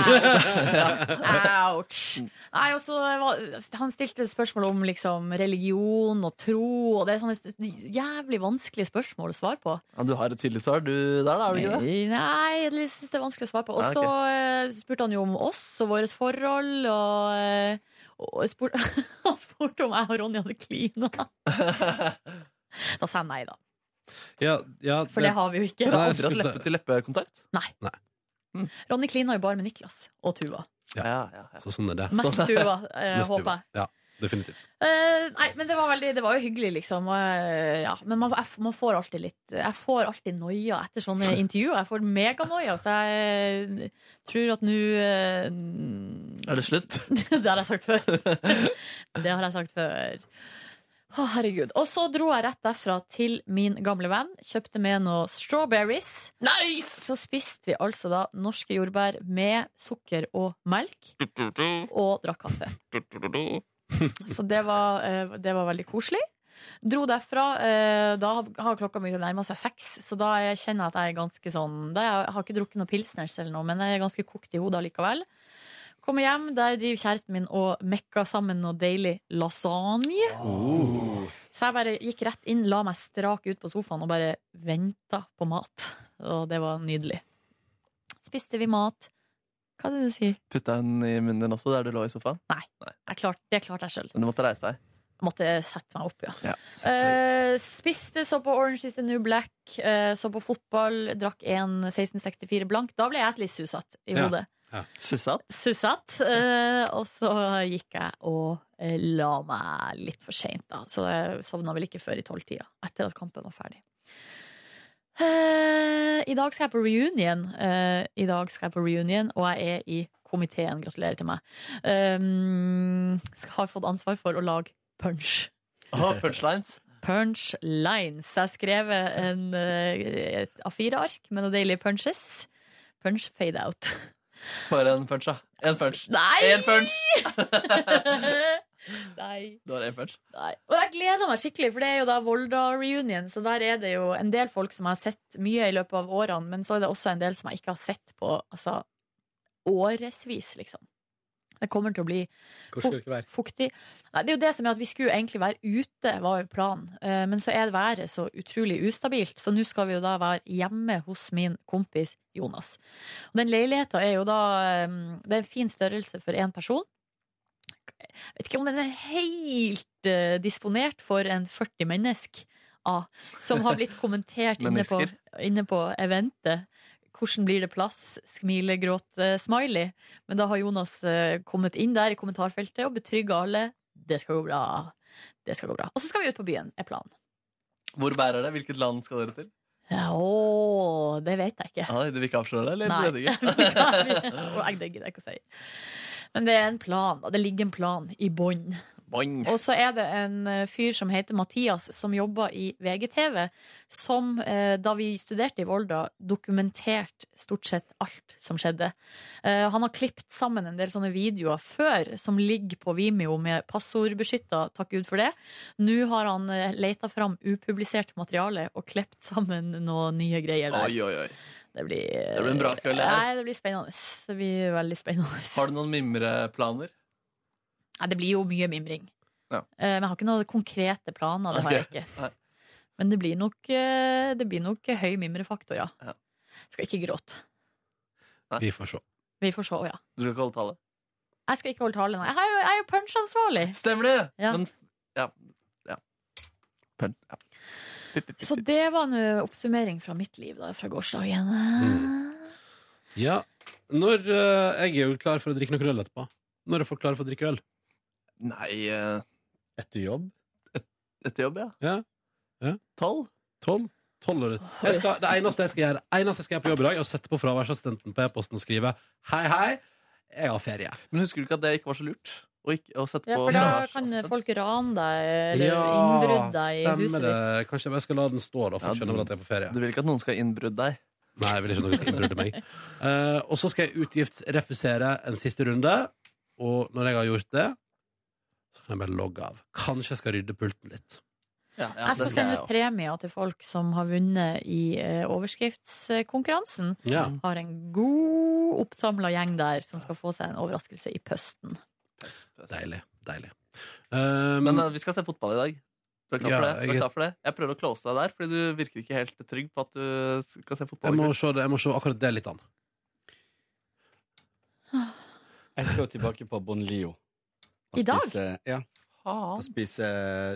B: Ouch!
C: Mm.
B: Nei, og så var- Han stilte spørsmål om liksom religion og tro, og det er sånne jævlig vanskelige spørsmål å svare på. Eh,
C: ja, Du har et tydelig svar, du der, da? er du ikke det?
B: Nei, jeg syns det er vanskelig å svare på. Og
C: Ja, ok.
B: så eh, spurte han jo om oss og vårt forhold, og, eh, og jeg spurte, han spurte om jeg og Ronny hadde klina. Da sa jeg nei, da.
A: Ja, ja,
B: For det har vi jo ikke.
C: Dere
A: Nei,
C: har
A: jeg
C: aldri hatt
A: skulle
C: leppe-til-leppe-kontakt?
B: Ronny klina jo bare med Niklas og Tuva.
A: Ja.
C: Ja, ja, ja.
A: Så sånn er det.
B: Mestua, eh,
A: Neste uke.
B: håper jeg.
A: Ja, definitivt.
B: Eh, nei, men det var, veldig, det var jo hyggelig, liksom. Og, eh, ja. Men man, jeg, f- man får alltid litt Jeg får alltid noia etter sånne intervjuer. Jeg får meganoia, så jeg eh, tror at nå eh,
C: Er det slutt?
B: Det har jeg sagt før. Det har jeg sagt før. Å, herregud. Og så dro jeg rett derfra til min gamle venn. Kjøpte med noe strawberries.
C: Nice!
B: Så spiste vi altså da norske jordbær med sukker og melk. Og drakk kaffe. Så det var, eh, det var veldig koselig. Dro derfra. eh, Da har klokka mi nærma seg seks, så da er- kjenner jeg at jeg er ganske sånn da er jeg jeg har ikke drukket noe pilsners eller noe, men jeg er ganske kokt i hodet allikevel. Kommer hjem, der driver kjæresten min og mekka sammen noe deilig lasagne. Så jeg bare gikk rett inn, la meg strak ut på sofaen og bare venta på mat. Og det var nydelig. Spiste vi mat. Hva er det du sier?
C: Putta hun i munnen din også der du lå i sofaen?
B: Jeg klarte, det klarte jeg sjøl.
C: Men du måtte reise deg.
B: Måtte sette meg opp, ja.
C: Ja.
B: Eh, spiste, så på Orange is the New Black, eh, så på fotball, drakk en 1664 blank. Da ble jeg litt susatt i
A: Ja.
B: hodet.
C: Sussat?
B: Susatt. eh, og så gikk jeg og eh, la meg litt for seint, da. Så jeg sovna vel ikke før i tolvtida, etter at kampen var ferdig. Eh, I dag skal jeg på reunion. Eh, I dag skal jeg på reunion, og jeg er i komiteen. Gratulerer til meg. Um, skal- har fått ansvar for å lage punch.
C: Å, punchlines.
B: Punchlines. Jeg har skrevet en, eh, et A4-ark med noen deilige punches. Punch fade out.
C: Bare en punch, da. En punch.
B: Nei!
C: En punch!
B: Nei.
C: Du har en punch.
B: Nei. Og jeg gleder meg skikkelig, for det er jo da Volda-reunion. Så der er det jo en del folk som jeg har sett mye i løpet av årene, men så er det også en del som jeg ikke har sett på altså, årevis, liksom. Det kommer til å bli
I: Hvor skal dere være?
B: fuktig. Nei, det er jo det som er at vi skulle egentlig være ute, var jo planen. Eh, Men så er været så utrolig ustabilt, så nå skal vi jo da være hjemme hos min kompis Jonas. Og den leiligheta er jo da eh, Det er en fin størrelse for én person. Jeg vet ikke om den er helt eh, disponert for en 40 mennesk ah, som har blitt kommentert inne på,
C: Mennesker.
B: inne på eventet. Hvordan blir det plass? Smile, gråt, eh, smiley. Men da har Jonas eh, kommet inn der i kommentarfeltet og betrygga alle. Det skal gå bra. Det skal gå bra. Og så skal vi ut på byen, er planen.
C: Hvor bærer det? Hvilket land skal dere til?
B: Ja, å, det vet jeg ikke.
C: Ah, du vil ikke avsløre det, eller?
B: Nei.
C: Du
B: Vi
C: vet
B: kan-
C: ikke.
B: Å, jeg- Det gidder jeg ikke å si. Men det er en plan. da. Det ligger en plan i bånn.
C: Boing.
B: Og så er det en eh, fyr som heter Mathias, som jobber i VGTV, som eh, da vi studerte i Volda, dokumenterte stort sett alt som skjedde. Eh, han har klippet sammen en del sånne videoer før, som ligger på Vimeo med passordbeskytta, takk Gud for det. Nå har han eh, leita fram upublisert materiale og klippet sammen noen nye greier der.
C: Oi, oi, oi.
B: Det blir,
C: Det blir en bra kveld, det her.
B: Nei, det blir spennende. Det blir veldig spennende.
C: Har du noen mimreplaner?
B: Nei, det blir jo mye mimring.
C: Ja.
B: Eh, Men jeg har ikke noen konkrete planer. Det har jeg
C: Ok.
B: ikke.
C: Nei.
B: Men det blir nok, eh, det blir nok høy mimrefaktor, ja.
C: Ja.
B: Skal ikke gråte.
A: Vi får se.
B: Vi får se, ja.
C: Du skal ikke holde tale.
B: Jeg skal ikke holde tale, nei. Jeg har jo- jeg er jo punsjansvarlig!
C: Stemmer det?
B: Ja.
C: Men ja. ja. Pun, ja. Pip, pip, pip.
B: Så det var en oppsummering fra mitt liv da, fra gårsdagen.
C: Mm.
A: Ja. Når eh, Jeg er jo klar for å drikke noe øl etterpå. Når er folk klare for å drikke øl?
C: Nei eh,
I: Etter jobb?
C: Etter jobb, ja?
A: Ja. Ja.
C: Tolv?
A: Tolv? Tolv år. Jeg skal, det eneste jeg skal gjøre Eneste jeg skal gjøre på jobb i dag, er å sette på fraværsassistenten på e-posten og skrive Hei, hei, jeg har ferie.
C: Men husker du ikke at det ikke var så lurt? Å, ikke, å sette
B: Ja,
C: på altså.
B: for da
C: fraværsassistent?
B: kan folk rane deg, eller innbrudd deg i huset
A: det.
B: ditt.
A: Kanskje jeg bare skal la den stå, da, for å
C: Ja,
A: skjønne
C: du-
A: at jeg er på ferie.
C: Du vil ikke at noen skal ha innbrudd deg?
A: Nei, jeg vil ikke at noen skal innbrudde meg. Eh, og så skal jeg utgiftsrefusere en siste runde, og når jeg har gjort det, så kan jeg bare logge av. Kanskje jeg skal rydde pulten litt.
C: Ja, ja,
B: Jeg skal
C: det
B: sende
C: jeg
B: ut
C: jo.
B: premier til folk som har vunnet i eh, overskriftskonkurransen.
A: Ja.
B: Har en god oppsamla gjeng der som skal få seg en overraskelse i pøsten.
C: Pest, pest.
A: Deilig. Deilig. Um,
C: Men eh, vi skal se fotball i dag. Du er klar,
A: Ja,
C: for, det? Du
A: jeg-
C: er klar for det? Jeg prøver å close deg der, fordi du virker ikke helt trygg på at du skal se
A: jeg,
C: fotball. i
A: må
C: kveld.
A: se, det- jeg må se akkurat det litt an.
I: Jeg skal tilbake på Bon Lio. Og
B: I dag?
I: Spise, ja. Og
C: Faen.
I: spise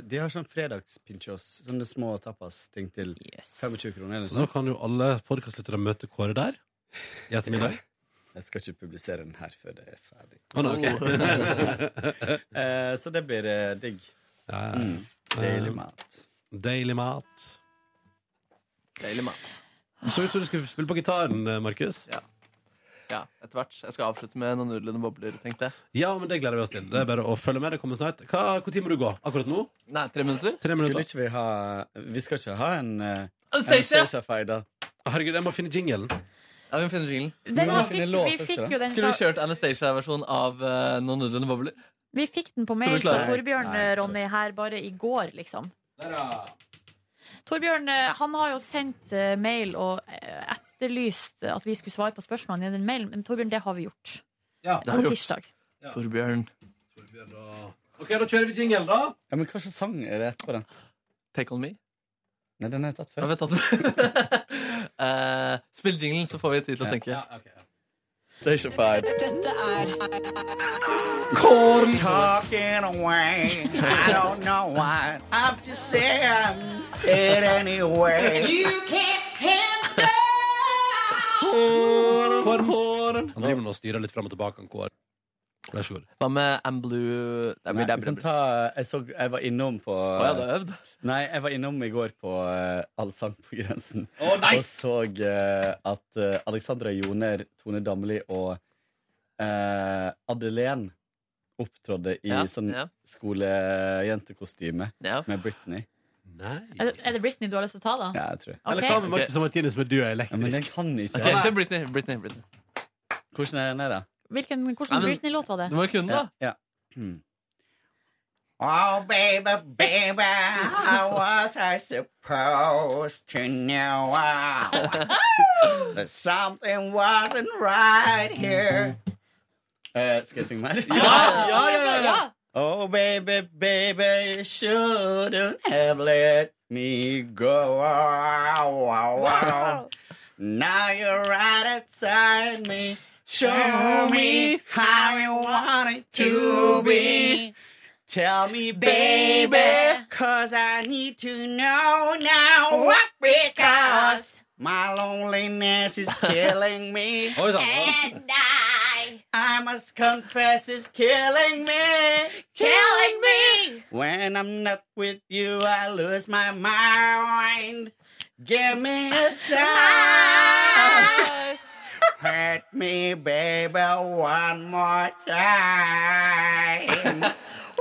I: De har sånn fredagspinchos. Sånne små tapas-ting til
B: Yes.
I: 25 kroner eller
A: Så nå
I: sånn.
A: kan jo alle podkastlyttere møte Kåre der i ettermiddag.
I: Jeg skal ikke publisere den her før det er ferdig.
A: Å, nei, ok.
I: Eh, så det blir eh, digg.
A: Ja, ja.
I: Mm. Deilig mat.
A: Deilig mat.
C: Deilig mat.
A: Det så ut som du skulle spille på gitaren, eh, Markus.
C: Ja, etter hvert. Jeg skal avslutte med noen nudlende bobler, tenkte jeg.
A: Ja, men det gleder vi oss til. Det er bare å følge med. Det kommer snart. Hva, hvor tid må du gå? Akkurat nå?
C: Nei, tre minutter?
A: Tre
I: Skulle
A: minutter?
I: ikke vi ha Vi skal ikke ha en, eh,
C: En
I: en
C: stage, ja.
I: Stacia-fei, da?
A: Herregud, jeg må finne jingelen.
C: Ja, vi finner jinglen.
B: Den
I: må
B: var,
I: finne
B: fikk,
I: låter
B: vi
I: til
B: fikk
I: det.
B: jo den
C: Skulle vi
B: fra,
C: kjørt Anastacia-versjon av eh, Noen nudlende bobler?
B: Vi fikk den på
C: Skal
B: mail
C: vi
B: fra
C: klare-
B: Torbjørn, eh,
I: Nei, nei,
B: Ronny, her bare i går, liksom. Torbjørn eh, han har jo sendt eh, mail og eh, etterlyst at vi skulle svare på spørsmålene i den mailen, men Torbjørn, det har vi gjort.
A: Ja.
C: har
B: På
C: vi gjort.
B: tirsdag.
C: Torbjørn.
A: OK, da kjører vi jingelen, da.
I: Ja, men hva slags sang er det etterpå den?
C: Take on me.
I: Nei, den har jeg tatt
C: Jeg
I: før.
C: vet at Eh, Spill jinglen, så får vi tid til å tenke.
I: Stacia-fei.
E: Dette er
J: Talking away, I don't know why. I'm just saying it anyway.
E: You can't handle
A: Horn, horn. Han driver nå og styrer litt fram og tilbake. Han går. Vær så god.
C: Hva med Amblue Det er
I: Nei,
C: mye
I: du
C: det er
I: kan
C: bra.
I: ta, jeg, så, jeg var innom på
C: Å, ja, du har øvd?
I: Nei, jeg var innom i går på eh, Allsang på grensen.
A: Å,
I: Og så eh, at eh, Alexandra Joner, Tone Damli og eh, Adelén opptrådde i
C: Ja,
I: sånn
C: ja.
I: skolejentekostyme
C: Ja.
I: med Britney.
B: Er det, er det Britney du har lyst til å ta, da?
I: Ja, jeg tror.
B: Ok.
A: Eller hva med Marcus og Martinus med du er
I: Ja, men jeg
A: elektrisk?
I: kan ikke.
C: Ok, kjør Britney. Britney, Britney.
I: Hvordan er den her, da?
B: Hvilken,
C: Nei,
B: hvordan
C: men-
B: Britney-låt var det?
C: Du må jo kunne,
I: Ja,
C: da.
I: ja.
J: Mm. Oh, baby, baby, how was I supposed to know? oh, That something wasn't right here. Uh,
I: Eh, skal jeg synge mer?
B: ja, ja, ja.
I: Oh, baby, baby, you shouldn't have
J: Let me go. Now you're right outside me. Show me how you want it to be. Tell me, baby, cause I need to know now. What because my loneliness is killing me.
A: Oi sann.
E: And I
J: I must confess it's killing me.
E: Killing me
J: When I'm not with you, I lose my mind. Give me a sign. Hurt me, baby, one more time.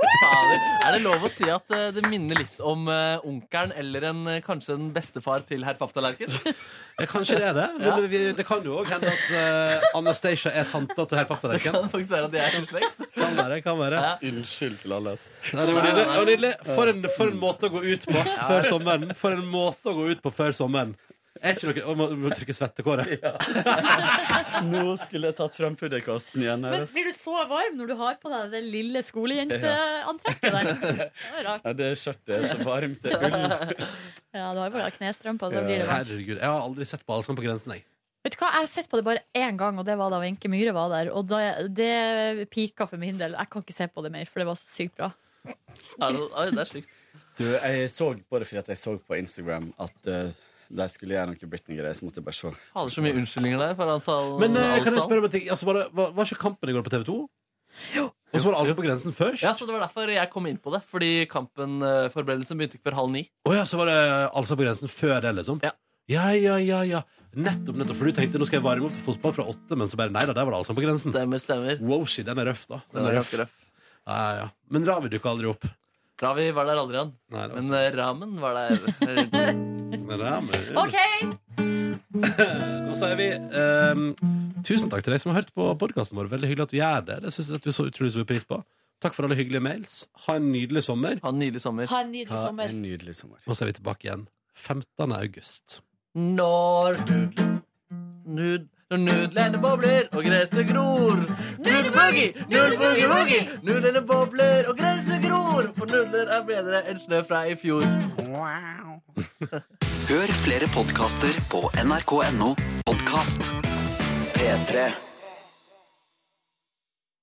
C: Fader. Er det lov å si at eh, det minner litt om eh, onkelen eller en, eh, kanskje en bestefar til herr Papptallerken?
A: Ja, kanskje det er det. Men vi, det kan jo òg hende at eh, Anastacia er tanta til herr Papptallerken.
C: Kan det faktisk være at de er i slekt?
A: Kan være, kan være.
C: Ja.
I: Unnskyld til alle, ass.
A: Nei, det var nydelig. Det var nydelig. For, en, for en måte å gå ut på før sommeren. For en måte å gå ut på før sommeren. Er ikke noe, å, må, må trykke svettekåret.
I: Nå skulle jeg tatt fram pudderkosten igjen. her,
B: Men
I: ass.
B: blir du så varm når du har på deg det lille skolejenteantrekket der? Det er rart.
I: Ja, det skjørtet er så varmt. Det er ull.
B: Ja, du har jo bare knestrømper, så da blir det varmt.
A: Herregud, Jeg har aldri sett på Allsang på grensen. Jeg.
B: Vet du hva, Jeg har sett på det bare én gang, og det var da Wenche Myhre var der. Og da, det pika for min del. Jeg kan ikke se på det mer, for det var så sykt bra.
C: Ja, det- Oi, det er stygt.
I: Du, jeg så bare fordi at jeg så på Instagram at eh, de skulle gjøre noe Britney-greier, så måtte jeg bare se.
C: Fader, så mye unnskyldninger der. For altså,
A: Men eh, kan
C: altså.
A: jeg spørre om en ting? Altså, var, det, var, var ikke kampen i går på TV 2? Og så var det Allsang på grensen først?
C: Ja,
A: Å
C: så Det var derfor jeg kom inn på det. Fordi kampen eh, forberedelsen begynte ikke før halv ni.
A: ja, så var det Allsang på grensen før det, liksom?
C: Ja.
A: Ja, ja, ja, ja. Nettopp, nettopp. For du tenkte nå skal jeg varme opp til fotball fra åtte, men så bare nei da, der var det Allsang på grensen.
C: Stemmer, stemmer.
A: Wow, shit, den er røff, da.
C: Den
A: Den
C: var
A: er røff.
C: ganske røff.
A: Ja, ja, ja. Men Ravi dukka aldri opp.
C: Ravi var der aldri, han.
A: Nei, det var
C: Men eh, Ramen var der.
A: Men det er med-
B: OK!
A: Nå sier vi ehm, tusen takk til deg som har hørt på podkasten vår. Veldig hyggelig at du gjør det. Det synes jeg at vi så utrolig stor pris på. Takk for alle hyggelige mails. Ha en nydelig sommer.
C: Ha en nydelig sommer.
B: Ha en nydelig
I: Ha
B: sommer.
I: en nydelig sommer.
A: Og så er vi tilbake igjen 15. august.
C: Når nud, nud, når nudlene bobler og gresset gror. Nudboogie, nudboogie-woogie. Nudlene bobler og gresset gror. For nudler er bedre enn snø fra i fjor.
J: Wow.
K: Hør flere podkaster på nrk.no podkast. P3.